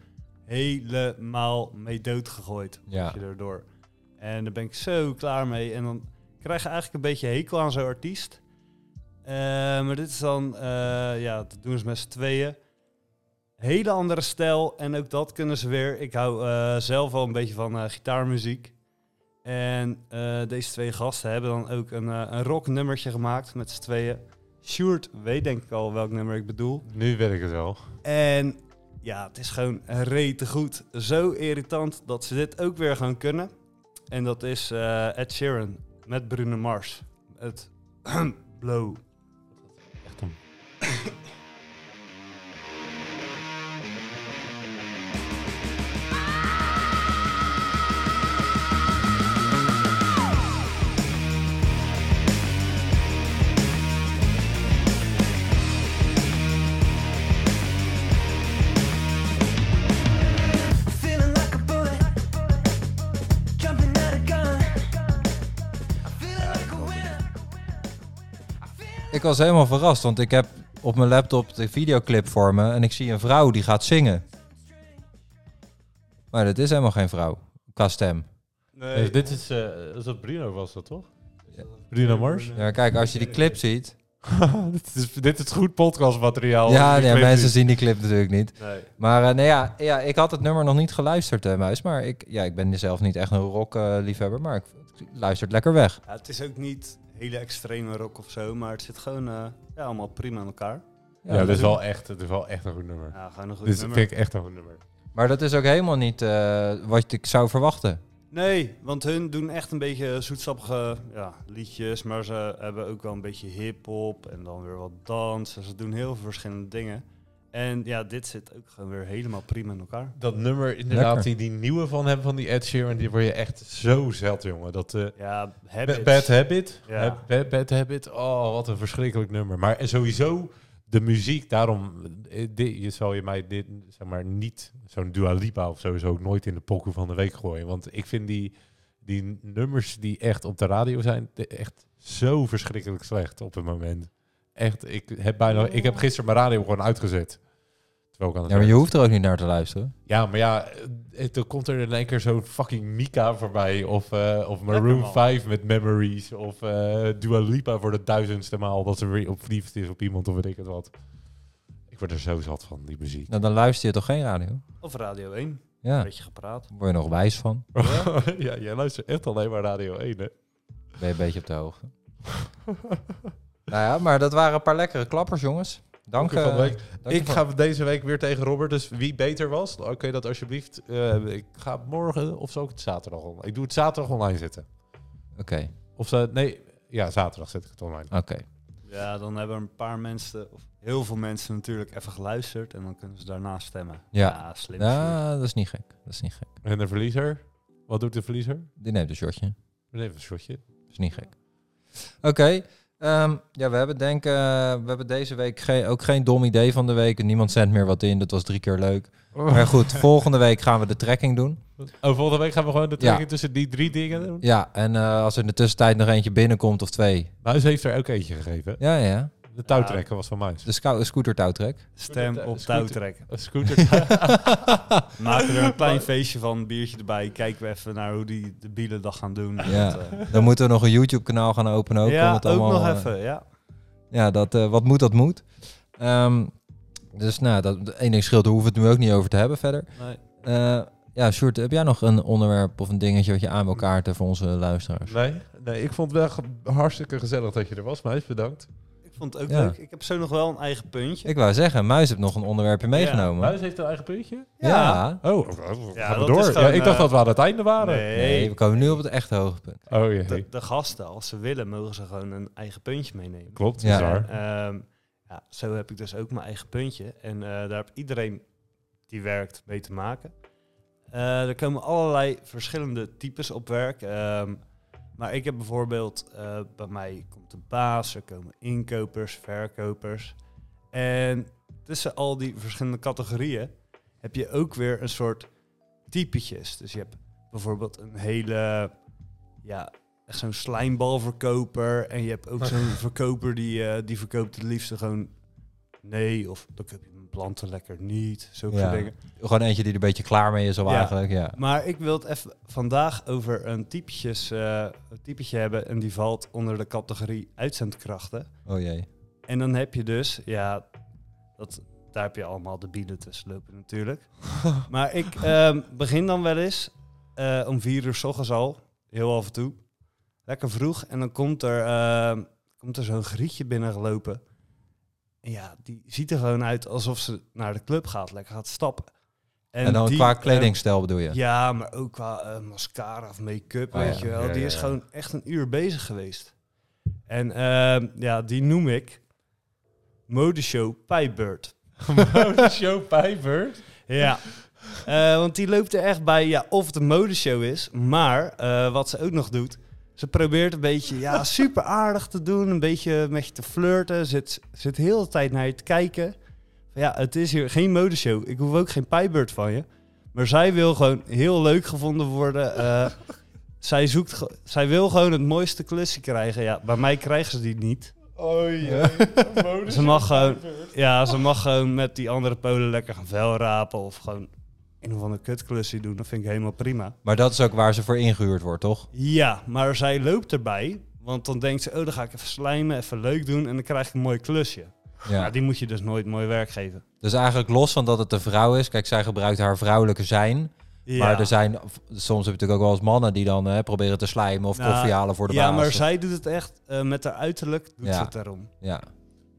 [SPEAKER 4] helemaal mee doodgegooid.
[SPEAKER 2] Ja.
[SPEAKER 4] Ja. Je erdoor. En daar ben ik zo klaar mee. En dan krijg je eigenlijk een beetje hekel aan zo'n artiest. Eh, maar dit is dan, eh, ja, dat doen ze met z'n tweeën. Hele andere stijl. En ook dat kunnen ze weer. Ik hou eh, zelf al een beetje van eh, gitaarmuziek. En eh, deze twee gasten hebben dan ook een, eh, een rocknummertje gemaakt met z'n tweeën. Sjoerd weet denk ik al welk nummer ik bedoel.
[SPEAKER 3] Nu weet ik het wel.
[SPEAKER 4] En ja, het is gewoon rete goed. Zo irritant dat ze dit ook weer gaan kunnen. En dat is eh, Ed Sheeran met Bruno Mars. Het blow.
[SPEAKER 3] Echt een...
[SPEAKER 2] Ik was helemaal verrast, want ik heb op mijn laptop de videoclip voor me en ik zie een vrouw die gaat zingen. Maar dat is helemaal geen vrouw, qua stem.
[SPEAKER 3] Eh, dit is... eh is dat Bruno was dat, toch? Bruno Mars?
[SPEAKER 2] Ja, maar kijk, als je die clip ziet...
[SPEAKER 3] dit, is, dit is goed podcastmateriaal.
[SPEAKER 2] Ja,
[SPEAKER 3] Ik
[SPEAKER 2] nee,
[SPEAKER 3] weet
[SPEAKER 2] mensen
[SPEAKER 3] niet.
[SPEAKER 2] zien die clip natuurlijk niet.
[SPEAKER 4] Nee.
[SPEAKER 2] Maar eh, nee, ja, ja, ik had het nummer nog niet geluisterd, hè, Muis. Maar ik, ja, ik ben zelf niet echt een rock-liefhebber, maar ik, ik luister het lekker weg.
[SPEAKER 4] Ja, het is ook niet hele extreme rock of zo, maar het zit gewoon eh, ja, allemaal prima aan elkaar.
[SPEAKER 3] Ja, dit is wel echt, dit is wel echt een goed nummer.
[SPEAKER 4] Ja, gewoon een goed
[SPEAKER 3] Dit
[SPEAKER 4] nummer.
[SPEAKER 3] vind ik echt een goed nummer.
[SPEAKER 2] Maar dat is ook helemaal niet eh, wat ik zou verwachten.
[SPEAKER 4] Nee, want hun doen echt een beetje zoetsappige ja, liedjes, maar ze hebben ook wel een beetje hip-hop en dan weer wat dans. En ze doen heel veel verschillende dingen. En ja, dit zit ook gewoon weer helemaal prima in elkaar.
[SPEAKER 3] Dat nummer inderdaad,
[SPEAKER 2] Lekker.
[SPEAKER 3] die, die nieuwe van hem, van die Ed Sheeran, die word je echt zo zeld, jongen. Dat, eh,
[SPEAKER 4] Ja,
[SPEAKER 3] Ba-
[SPEAKER 4] habits.
[SPEAKER 3] Bad Habit.
[SPEAKER 4] Ja.
[SPEAKER 3] Heb- Bad, bad Habit. Oh, wat een verschrikkelijk nummer. Maar sowieso de muziek, daarom eh, dit, je zal je mij dit zeg maar niet zo'n Dua Lipa of sowieso ook nooit in de pokoe van de week gooien, want ik vind die die nummers die echt op de radio zijn de- echt zo verschrikkelijk slecht op het moment. Echt, ik heb bijna ik heb gisteren mijn radio gewoon uitgezet. Terwijl ik aan het
[SPEAKER 2] Ja, maar je
[SPEAKER 3] werk-
[SPEAKER 2] hoeft er ook niet naar te luisteren.
[SPEAKER 3] ja, maar ja, eh, toen komt er in één keer zo'n fucking Mika voorbij. Of, eh, of
[SPEAKER 4] Lekker,
[SPEAKER 3] Maroon
[SPEAKER 4] man.
[SPEAKER 3] 5 met Memories. Of eh Dua Lipa voor de duizendste maal dat ze weer op verliefd is op iemand of weet ik het wat. Ik word er zo zat van, die muziek.
[SPEAKER 2] Nou, dan luister je toch geen radio?
[SPEAKER 4] Of Radio 1,
[SPEAKER 2] Ja,
[SPEAKER 4] een
[SPEAKER 2] daar
[SPEAKER 4] beetje gepraat.
[SPEAKER 2] word je nog wijs van.
[SPEAKER 3] Ja, jij luistert echt alleen maar Radio 1, hè?
[SPEAKER 2] Ben je een beetje op de hoogte. nou ja, maar dat waren een paar lekkere klappers, jongens. Dank,
[SPEAKER 3] Dank je van de
[SPEAKER 2] eh,
[SPEAKER 3] week.
[SPEAKER 2] dank
[SPEAKER 3] ik
[SPEAKER 2] je
[SPEAKER 3] ga deze week weer tegen Robert, dus wie beter was, dan kun je dat alsjeblieft... eh, ik ga morgen, of zal ik het zaterdag online... Ik doe het zaterdag online zetten.
[SPEAKER 2] Oké, oké.
[SPEAKER 3] Of ze, nee, ja, zaterdag zet ik het online.
[SPEAKER 4] Ja, dan hebben een paar mensen, of heel veel mensen natuurlijk, even geluisterd. En dan kunnen ze daarna stemmen.
[SPEAKER 2] Ja.
[SPEAKER 4] slim. slim.
[SPEAKER 2] Ja, Nou, dat is niet gek. Dat is niet gek.
[SPEAKER 3] En de verliezer? Wat doet de verliezer?
[SPEAKER 2] Die neemt een shotje.
[SPEAKER 3] Even een shotje.
[SPEAKER 2] Dat is niet gek. Oké. ehm, ja, we hebben denk eh, we hebben deze week geen- ook geen dom idee van de week. En Niemand zendt meer wat in. Dat was drie keer leuk. Maar goed, volgende week gaan we de trekking doen.
[SPEAKER 3] Oh, volgende week gaan we gewoon de trekking
[SPEAKER 2] Ja.
[SPEAKER 3] tussen die drie dingen doen.
[SPEAKER 2] Ja, en eh, als er in de tussentijd nog eentje binnenkomt of twee.
[SPEAKER 3] Muis heeft er ook eentje gegeven.
[SPEAKER 2] Ja, ja, ja.
[SPEAKER 3] De touwtrekker was van Muis.
[SPEAKER 2] De scou- scootertouwtrek.
[SPEAKER 4] Stem op
[SPEAKER 3] Scooter.
[SPEAKER 4] touwtrek.
[SPEAKER 3] Een scooter.
[SPEAKER 4] Maken er een klein feestje van, biertje erbij. Kijken we even naar hoe die de bielen dat gaan doen.
[SPEAKER 2] Ja.
[SPEAKER 4] Dat, eh,
[SPEAKER 2] Dan moeten we nog een YouTube-kanaal gaan openen. Ook, om
[SPEAKER 4] ja,
[SPEAKER 2] het
[SPEAKER 4] ook
[SPEAKER 2] allemaal,
[SPEAKER 4] nog
[SPEAKER 2] eh,
[SPEAKER 4] even, ja.
[SPEAKER 2] Ja, dat, eh, wat moet, dat moet. Ehm, dus nou, dat één ding scheelt. Daar hoeven we het nu ook niet over te hebben verder.
[SPEAKER 4] Nee.
[SPEAKER 2] Eh, ja, Sjoerd, heb jij nog een onderwerp of een dingetje wat je aan wil kaarten voor onze luisteraars?
[SPEAKER 3] nee, nee, ik vond het wel ge- hartstikke gezellig dat je er was, Muis. Bedankt.
[SPEAKER 4] Ik vond het ook
[SPEAKER 2] Ja.
[SPEAKER 4] leuk. Ik heb zo nog wel een eigen puntje.
[SPEAKER 2] Ik wou zeggen, Muis heeft nog een onderwerpje meegenomen.
[SPEAKER 3] Muis heeft een eigen puntje?
[SPEAKER 2] Ja.
[SPEAKER 3] Oh,
[SPEAKER 4] Ja,
[SPEAKER 3] gaan we
[SPEAKER 4] dat
[SPEAKER 3] door.
[SPEAKER 4] is gewoon,
[SPEAKER 3] ja, ik dacht
[SPEAKER 4] eh,
[SPEAKER 3] dat we aan het einde waren.
[SPEAKER 2] Nee,
[SPEAKER 4] Nee,
[SPEAKER 2] we komen nu op het echt hoge punt.
[SPEAKER 3] Oh jee.
[SPEAKER 4] de, de gasten, als ze willen, mogen ze gewoon een eigen puntje meenemen.
[SPEAKER 3] Klopt,
[SPEAKER 2] Ja.
[SPEAKER 3] is waar.
[SPEAKER 4] Ehm, ja, zo heb ik dus ook mijn eigen puntje. En eh, daar heb iedereen die werkt mee te maken. Eh, er komen allerlei verschillende types op werk. Ehm, maar ik heb bijvoorbeeld, eh, bij mij komt de baas, er komen inkopers, verkopers. En tussen al die verschillende categorieën heb je ook weer een soort typetjes. Dus je hebt bijvoorbeeld een hele, ja, echt zo'n slijmbalverkoper. En je hebt ook zo'n verkoper die, eh, die verkoopt het liefste gewoon nee. Of dan koop je mijn planten lekker niet, zulke
[SPEAKER 2] Ja.
[SPEAKER 4] soort dingen.
[SPEAKER 2] Gewoon eentje die er een beetje klaar mee is al
[SPEAKER 4] Ja.
[SPEAKER 2] eigenlijk, ja.
[SPEAKER 4] Maar ik wil het even vandaag over een, typetjes, eh, een typetje hebben. En die valt onder de categorie uitzendkrachten.
[SPEAKER 2] Oh jee.
[SPEAKER 4] En dan heb je dus, ja, dat, daar heb je allemaal de bielen tussen lopen natuurlijk. maar ik ehm, begin dan wel eens eh, om vier uur s ochtends al, heel af en toe. Lekker vroeg. En dan komt er, ehm, komt er zo'n grietje binnengelopen. En ja, die ziet er gewoon uit alsof ze naar de club gaat. Lekker gaat stappen.
[SPEAKER 2] En, dan
[SPEAKER 4] die,
[SPEAKER 2] qua
[SPEAKER 4] ehm,
[SPEAKER 2] kledingstijl bedoel je?
[SPEAKER 4] ja, maar ook qua eh, mascara of make-up,
[SPEAKER 2] Oh,
[SPEAKER 4] weet
[SPEAKER 2] ja.
[SPEAKER 4] je wel.
[SPEAKER 3] Ja,
[SPEAKER 4] die
[SPEAKER 3] ja,
[SPEAKER 4] is
[SPEAKER 3] ja.
[SPEAKER 4] gewoon echt een uur bezig geweest. En ehm, ja, die noem ik modeshow Pijbird.
[SPEAKER 3] Show Pijver.
[SPEAKER 4] Ja. Eh, want die loopt er echt bij, ja, of het een modeshow is. Maar eh, wat ze ook nog doet, ze probeert een beetje ja, super aardig te doen. Een beetje met je te flirten. Zit, zit heel de tijd naar je te kijken. Van, ja, het is hier geen modeshow. Ik hoef ook geen pijbeurt van je. Maar zij wil gewoon heel leuk gevonden worden. Eh, zij, zoekt, ge- zij wil gewoon het mooiste klusje krijgen. Ja, bij mij krijgen ze die niet.
[SPEAKER 3] Oh
[SPEAKER 4] Ze mag gewoon, ja, ze mag gewoon met die andere Polen lekker gaan vuilrapen of gewoon een of andere kutklusje doen. Dat vind ik helemaal prima.
[SPEAKER 2] Maar dat is ook waar ze voor ingehuurd wordt, toch?
[SPEAKER 4] Ja, maar zij loopt erbij, want dan denkt ze, oh, dan ga ik even slijmen, even leuk doen en dan krijg ik een mooi klusje.
[SPEAKER 2] Ja.
[SPEAKER 4] Maar die moet je dus nooit mooi werk geven.
[SPEAKER 2] Dus eigenlijk los van dat het een vrouw is. Kijk, zij gebruikt haar vrouwelijke zijn.
[SPEAKER 4] Ja.
[SPEAKER 2] Maar er zijn, soms heb je natuurlijk ook wel eens mannen die dan eh, proberen te slijmen of
[SPEAKER 4] Nou,
[SPEAKER 2] koffie halen voor de
[SPEAKER 4] Ja,
[SPEAKER 2] baas.
[SPEAKER 4] maar
[SPEAKER 2] Of-
[SPEAKER 4] zij doet het echt eh, met haar uiterlijk, doet
[SPEAKER 2] Ja.
[SPEAKER 4] ze het daarom.
[SPEAKER 2] Ja.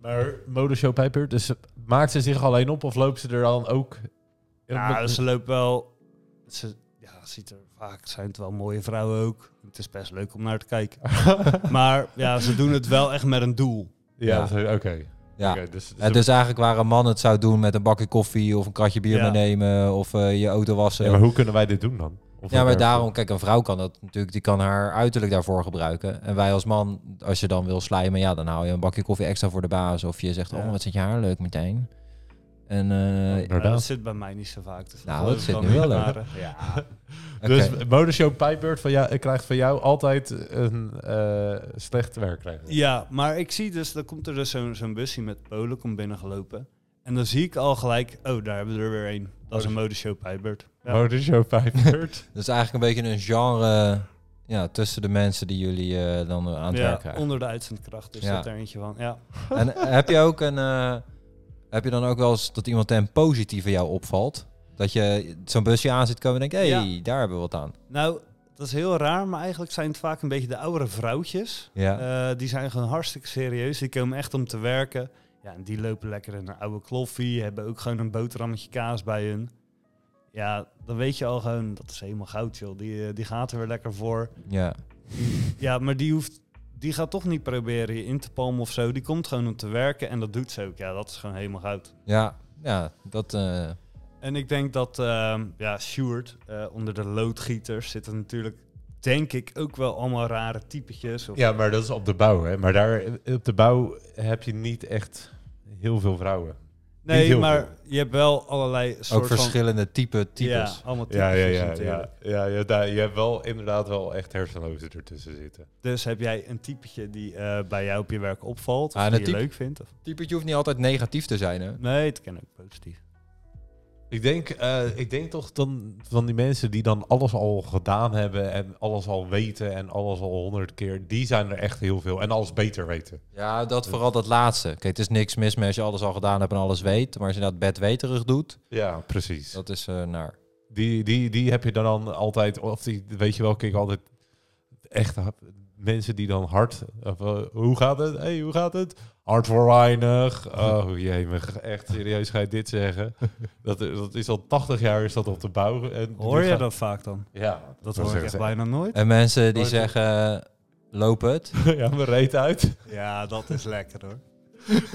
[SPEAKER 3] Maar modeshow Pijper, dus maakt ze zich alleen op of loopt ze er dan ook
[SPEAKER 4] Ja, ze loopt wel. Ze, ja, ziet er vaak zijn het wel mooie vrouwen ook. Het is best leuk om naar te kijken. maar ja, ze doen het wel echt met een doel.
[SPEAKER 3] ja,
[SPEAKER 2] Ja.
[SPEAKER 3] dat is- oké.
[SPEAKER 2] Ja.
[SPEAKER 3] Oké, dus,
[SPEAKER 2] Eh, dus eigenlijk waar een man het zou doen met een bakje koffie of een kratje bier
[SPEAKER 4] Ja.
[SPEAKER 2] meenemen of eh, je auto wassen.
[SPEAKER 3] Ja, maar hoe kunnen wij dit doen dan? Of
[SPEAKER 2] Ja, maar
[SPEAKER 3] werkt-
[SPEAKER 2] daarom, kijk, een vrouw kan dat natuurlijk, die kan haar uiterlijk daarvoor gebruiken. En wij als man, als je dan wil slijmen, ja, dan haal je een bakje koffie extra voor de baas. Of je zegt,
[SPEAKER 4] Ja.
[SPEAKER 2] oh, wat zit je haar leuk meteen. En, eh,
[SPEAKER 4] Maar dat
[SPEAKER 3] Inderdaad.
[SPEAKER 4] zit bij mij niet zo vaak. Dus
[SPEAKER 2] Nou,
[SPEAKER 4] geloof
[SPEAKER 2] het
[SPEAKER 4] ik
[SPEAKER 2] zit
[SPEAKER 4] dan
[SPEAKER 2] nu
[SPEAKER 4] niet,
[SPEAKER 2] wel leuk.
[SPEAKER 4] maar, eh, Ja,
[SPEAKER 2] oké.
[SPEAKER 3] Dus modeshow Pijbeurt van jou, krijgt van jou altijd een eh, slecht werk.
[SPEAKER 4] Ja, maar ik zie dus, dan komt er dus zo'n zo'n busje met Polen, komt binnengelopen. En dan zie ik al gelijk, oh, daar hebben we er weer een. Dat is een modeshow Pijbert. Ja.
[SPEAKER 3] Modeshow Pijbeurt.
[SPEAKER 2] dat is eigenlijk een beetje een genre eh, ja, tussen de mensen die jullie eh, dan aan het werk
[SPEAKER 4] Ja,
[SPEAKER 2] krijgen.
[SPEAKER 4] onder de uitzendkracht is
[SPEAKER 2] Ja.
[SPEAKER 4] dat er eentje van. Ja.
[SPEAKER 2] En heb je ook een. eh, heb je dan ook wel eens dat iemand ten positieve jou opvalt? Dat je zo'n busje aan zit komen en denkt, hé, hey, daar hebben we wat aan.
[SPEAKER 4] Nou, dat is heel raar, maar eigenlijk zijn het vaak een beetje de oudere vrouwtjes.
[SPEAKER 2] Ja.
[SPEAKER 4] Eh, die zijn gewoon hartstikke serieus. Die komen echt om te werken. Ja, en die lopen lekker in een oude kloffie. Hebben ook gewoon een boterhammetje kaas bij hun. Ja, dan weet je al gewoon, dat is helemaal goud, joh. Die, eh, die gaat er weer lekker voor.
[SPEAKER 2] ja.
[SPEAKER 4] Ja, maar die hoeft... Die gaat toch niet proberen je in te palmen of zo. Die komt gewoon om te werken en dat doet ze ook. Ja, dat is gewoon helemaal goud.
[SPEAKER 2] Ja, ja, dat. eh,
[SPEAKER 4] En ik denk dat, ehm ja, Sjoerd, eh, onder de loodgieters zitten natuurlijk, denk ik, ook wel allemaal rare typetjes. Of,
[SPEAKER 3] Ja, maar dat is op de bouw, hè. Maar daar, op de bouw heb je niet echt heel veel vrouwen. niet
[SPEAKER 4] nee,
[SPEAKER 3] heel
[SPEAKER 4] maar
[SPEAKER 3] veel.
[SPEAKER 4] je hebt wel allerlei soort
[SPEAKER 2] ook
[SPEAKER 4] van...
[SPEAKER 2] verschillende type types.
[SPEAKER 4] Ja, allemaal types. dus
[SPEAKER 3] Ja, ja, ja. ja,
[SPEAKER 4] natuurlijk.
[SPEAKER 3] ja, ja daar, je hebt wel inderdaad wel echt hersenlozen ertussen zitten.
[SPEAKER 4] Dus heb jij een typetje die eh, bij jou op je werk opvalt, of
[SPEAKER 2] Ah, en
[SPEAKER 4] die
[SPEAKER 2] een
[SPEAKER 4] je
[SPEAKER 2] type-
[SPEAKER 4] leuk vindt? Of...
[SPEAKER 2] Typetje hoeft niet altijd negatief te zijn, hè?
[SPEAKER 4] Nee, het kan ook positief.
[SPEAKER 3] Ik denk, eh, ik denk toch dan van die mensen die dan alles al gedaan hebben en alles al weten en alles al honderd keer, die zijn er echt heel veel en alles beter weten.
[SPEAKER 2] Ja, dat vooral dat laatste. Kijk, het is niks mis met als je alles al gedaan hebt en alles weet. Maar als je dat bedweterig doet,
[SPEAKER 3] Ja, precies.
[SPEAKER 2] dat is eh, naar.
[SPEAKER 3] Die, die, die heb je dan, dan altijd, of die, weet je wel, kijk altijd echt ha- mensen die dan hard, of, eh, hoe gaat het? hey, hoe gaat het? Hard voor weinig. Oh jee, echt serieus ga je dit zeggen? Dat, eh, dat is al 80 jaar is dat op de bouw. En
[SPEAKER 4] Hoor
[SPEAKER 3] die
[SPEAKER 4] je
[SPEAKER 3] gaan-
[SPEAKER 4] dat vaak dan?
[SPEAKER 3] Ja,
[SPEAKER 4] Dat
[SPEAKER 3] wil
[SPEAKER 4] hoor ik echt bijna nooit.
[SPEAKER 2] En mensen die
[SPEAKER 3] Nooit
[SPEAKER 2] zeggen, eh, loop het.
[SPEAKER 3] Ja, mijn reet uit.
[SPEAKER 4] Ja, dat is lekker hoor.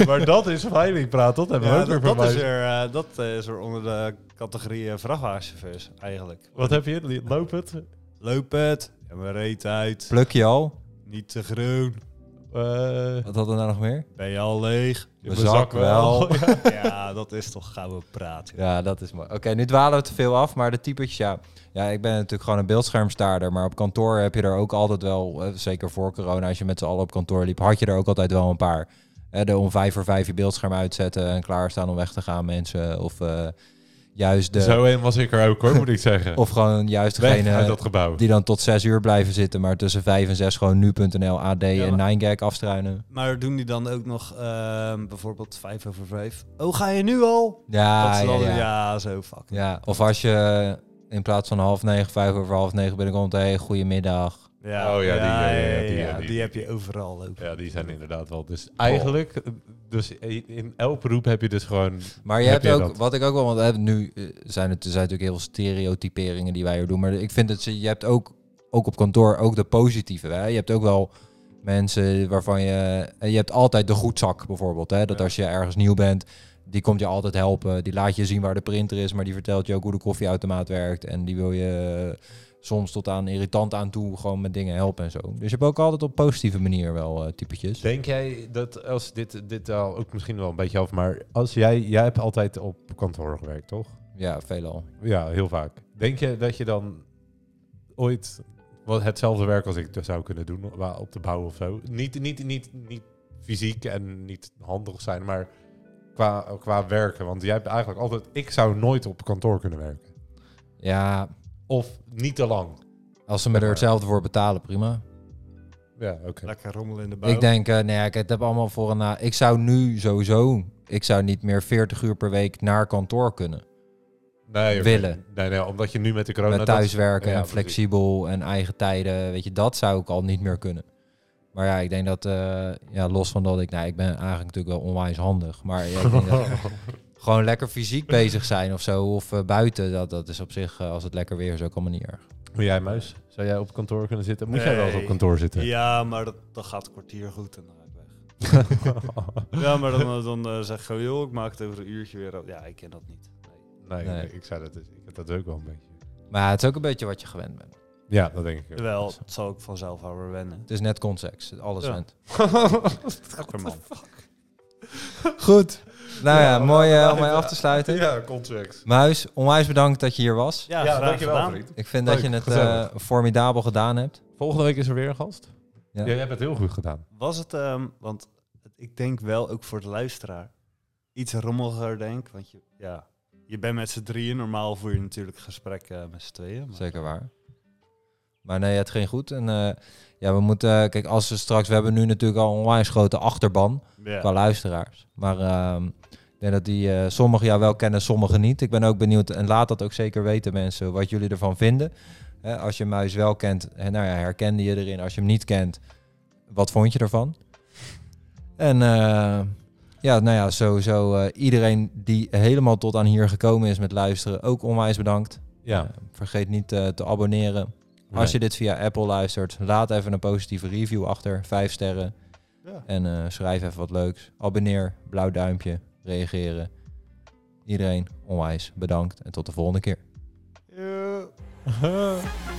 [SPEAKER 3] maar dat is veilig praat, dat hebben we
[SPEAKER 4] Ja,
[SPEAKER 3] ook weer
[SPEAKER 4] dat, dat is
[SPEAKER 3] verwijzen.
[SPEAKER 4] er, eh, dat eh, is er onder de categorie eh, vrachtwagenchauffeurs eigenlijk.
[SPEAKER 3] Wat heb je? Loop het?
[SPEAKER 4] Loop het, en we reet uit,
[SPEAKER 2] Pluk je al?
[SPEAKER 4] niet te groen,
[SPEAKER 3] Eh,
[SPEAKER 2] Wat hadden we nou nog meer?
[SPEAKER 4] ben je al leeg?
[SPEAKER 2] Mijn zak wel.
[SPEAKER 4] ja, dat is toch gouden praat. joh.
[SPEAKER 2] Ja, dat is mooi. Oké, nu dwalen we te veel af, maar de typetjes, ja. Ja, ik ben natuurlijk gewoon een beeldschermstaarder, maar op kantoor heb je er ook altijd wel, eh, zeker voor corona, als je met z'n allen op kantoor liep, had je er ook altijd wel een paar. Hè, de om vijf voor vijf je beeldscherm uitzetten en klaarstaan om weg te gaan mensen. Of eh, juist de...
[SPEAKER 3] Zo een was ik er ook hoor, moet ik zeggen.
[SPEAKER 2] Of gewoon juist
[SPEAKER 3] Weg uit
[SPEAKER 2] degene
[SPEAKER 3] dat gebouw.
[SPEAKER 2] die dan tot zes uur blijven zitten, maar tussen vijf en zes gewoon nu.nl, AD en 9gag afstruinen.
[SPEAKER 4] Maar doen die dan ook nog ehm, bijvoorbeeld 5 over 5? Oh, ga je nu al? dat
[SPEAKER 2] Ja,
[SPEAKER 4] is
[SPEAKER 2] Ah, ja,
[SPEAKER 4] dan, ja.
[SPEAKER 2] ja.
[SPEAKER 4] zo fuck. Ja.
[SPEAKER 2] Ja, of als je in plaats van half negen, vijf over half negen binnenkomt, hé, hey, goedemiddag.
[SPEAKER 3] Oh ja, die, ja, ja, ja, die,
[SPEAKER 4] ja,
[SPEAKER 3] ja, die.
[SPEAKER 4] die heb je overal ook.
[SPEAKER 3] Ja, die zijn inderdaad wel. Dus eigenlijk, dus in elk beroep heb je dus gewoon.
[SPEAKER 2] Maar je
[SPEAKER 3] Heb
[SPEAKER 2] hebt
[SPEAKER 3] jij
[SPEAKER 2] ook,
[SPEAKER 3] dat?
[SPEAKER 2] wat ik ook wel, want we hebben nu eh, zijn het er zijn natuurlijk heel veel stereotyperingen die wij hier doen, maar ik vind dat ze- je hebt ook, ook op kantoor ook de positieve. Hè? Je hebt ook wel mensen waarvan je, en je hebt altijd de goedzak bijvoorbeeld, hè? dat als je ergens nieuw bent, die komt je altijd helpen, die laat je zien waar de printer is, maar die vertelt je ook hoe de koffieautomaat werkt en die wil je eh, soms tot aan irritant aan toe gewoon met dingen helpen en zo. Dus je hebt ook altijd op positieve manier wel eh, typetjes.
[SPEAKER 3] Denk jij dat als dit, dit al ook misschien wel een beetje af, maar als jij, jij hebt altijd op kantoor gewerkt, toch?
[SPEAKER 2] Ja, veelal.
[SPEAKER 3] Ja, heel vaak. Denk je dat je dan ooit wat hetzelfde werk als ik dus zou kunnen doen wa- op de bouw of zo? Niet, niet, niet, niet fysiek en niet handig zijn, maar qua, qua werken. Want jij hebt eigenlijk altijd, ik zou nooit op kantoor kunnen werken.
[SPEAKER 2] Ja,
[SPEAKER 3] Of niet te lang.
[SPEAKER 2] als ze me er
[SPEAKER 3] maar.
[SPEAKER 2] hetzelfde voor betalen, prima.
[SPEAKER 3] Ja, oké.
[SPEAKER 4] Lekker rommelen in de bouw.
[SPEAKER 2] Ik denk, eh, nee, ik het heb allemaal voor en na. Ik zou nu sowieso, ik zou niet meer 40 uur per week naar kantoor
[SPEAKER 3] Oh,
[SPEAKER 2] kunnen.
[SPEAKER 3] Nee, oké.
[SPEAKER 2] willen.
[SPEAKER 3] Nee, nee, omdat je nu met de corona...
[SPEAKER 2] Met thuiswerken
[SPEAKER 3] nou, ja,
[SPEAKER 2] en
[SPEAKER 3] precies.
[SPEAKER 2] flexibel en eigen tijden, weet je, dat zou ik al niet meer kunnen. Maar ja, ik denk dat, eh, ja, los van dat ik, nou, ik ben eigenlijk natuurlijk wel onwijs handig. Maar ja, ik denk dat, gewoon lekker fysiek bezig zijn of zo. Of eh, buiten, dat, dat is op zich, eh, als het lekker weer is, ook allemaal niet erg.
[SPEAKER 3] Wil jij, Muis? Zou jij op kantoor kunnen zitten? Moet jij wel eens
[SPEAKER 4] Nee.
[SPEAKER 3] op kantoor zitten?
[SPEAKER 4] Ja, maar dat, dat gaat een kwartier goed en dan ga ik weg. Ja, maar dan, eh, dan eh, zeg ik gewoon, joh, ik maak het over een uurtje weer. op. Ja, ik ken dat niet. Nee.
[SPEAKER 3] nee,
[SPEAKER 2] Nee.
[SPEAKER 3] nee, ik zei dat. dus- Ik heb dat ook wel een beetje.
[SPEAKER 2] Maar het is ook een beetje wat je gewend bent.
[SPEAKER 3] Ja, dat denk ik. ook.
[SPEAKER 4] Wel, het zal ook vanzelf wel weer wennen.
[SPEAKER 2] Het is net context, alles
[SPEAKER 4] Ja.
[SPEAKER 2] went.
[SPEAKER 4] man.
[SPEAKER 2] Goed. Nou ja,
[SPEAKER 3] Ja,
[SPEAKER 2] mooi eh, om mij
[SPEAKER 3] ja.
[SPEAKER 2] af te sluiten.
[SPEAKER 3] Ja, contract.
[SPEAKER 2] Muis, onwijs bedankt dat je hier was.
[SPEAKER 4] Ja,
[SPEAKER 3] Ja,
[SPEAKER 4] graag
[SPEAKER 3] dankjewel,
[SPEAKER 4] gedaan.
[SPEAKER 3] vriend.
[SPEAKER 2] Ik vind dat
[SPEAKER 3] Leuk,
[SPEAKER 2] je het
[SPEAKER 3] gezellig.
[SPEAKER 2] eh, formidabel gedaan hebt.
[SPEAKER 3] Volgende week is er weer een gast.
[SPEAKER 2] Ja.
[SPEAKER 3] Ja. jij hebt het heel goed gedaan.
[SPEAKER 4] Was het, ehm, want ik denk wel ook voor de luisteraar, iets rommeliger denk. Want je, ja, je bent met z'n drieën, normaal voer je natuurlijk gesprekken eh, met z'n tweeën. Maar
[SPEAKER 2] Zeker waar. Maar nee, het ging goed. En eh, ja, we moeten. eh, kijk, als we straks. We hebben nu natuurlijk al een onwijs grote achterban
[SPEAKER 4] ja.
[SPEAKER 2] qua luisteraars. Maar ehm, ik denk dat die eh, sommigen jou wel kennen, sommigen niet. Ik ben ook benieuwd. En laat dat ook zeker weten, mensen, wat jullie ervan vinden. Hè, als je muis wel kent, hè, nou ja, herkende je erin. Als je hem niet kent, wat vond je ervan? En eh, ja, nou ja, sowieso eh, iedereen die helemaal tot aan hier gekomen is met luisteren, ook onwijs bedankt.
[SPEAKER 3] Ja.
[SPEAKER 2] Eh, Vergeet niet eh, te abonneren. Als je dit via Apple luistert, laat even een positieve review achter. Vijf sterren.
[SPEAKER 4] Ja.
[SPEAKER 2] En eh, schrijf even wat leuks. Abonneer, blauw duimpje, reageren. Iedereen onwijs bedankt en tot de volgende keer.
[SPEAKER 4] Ja.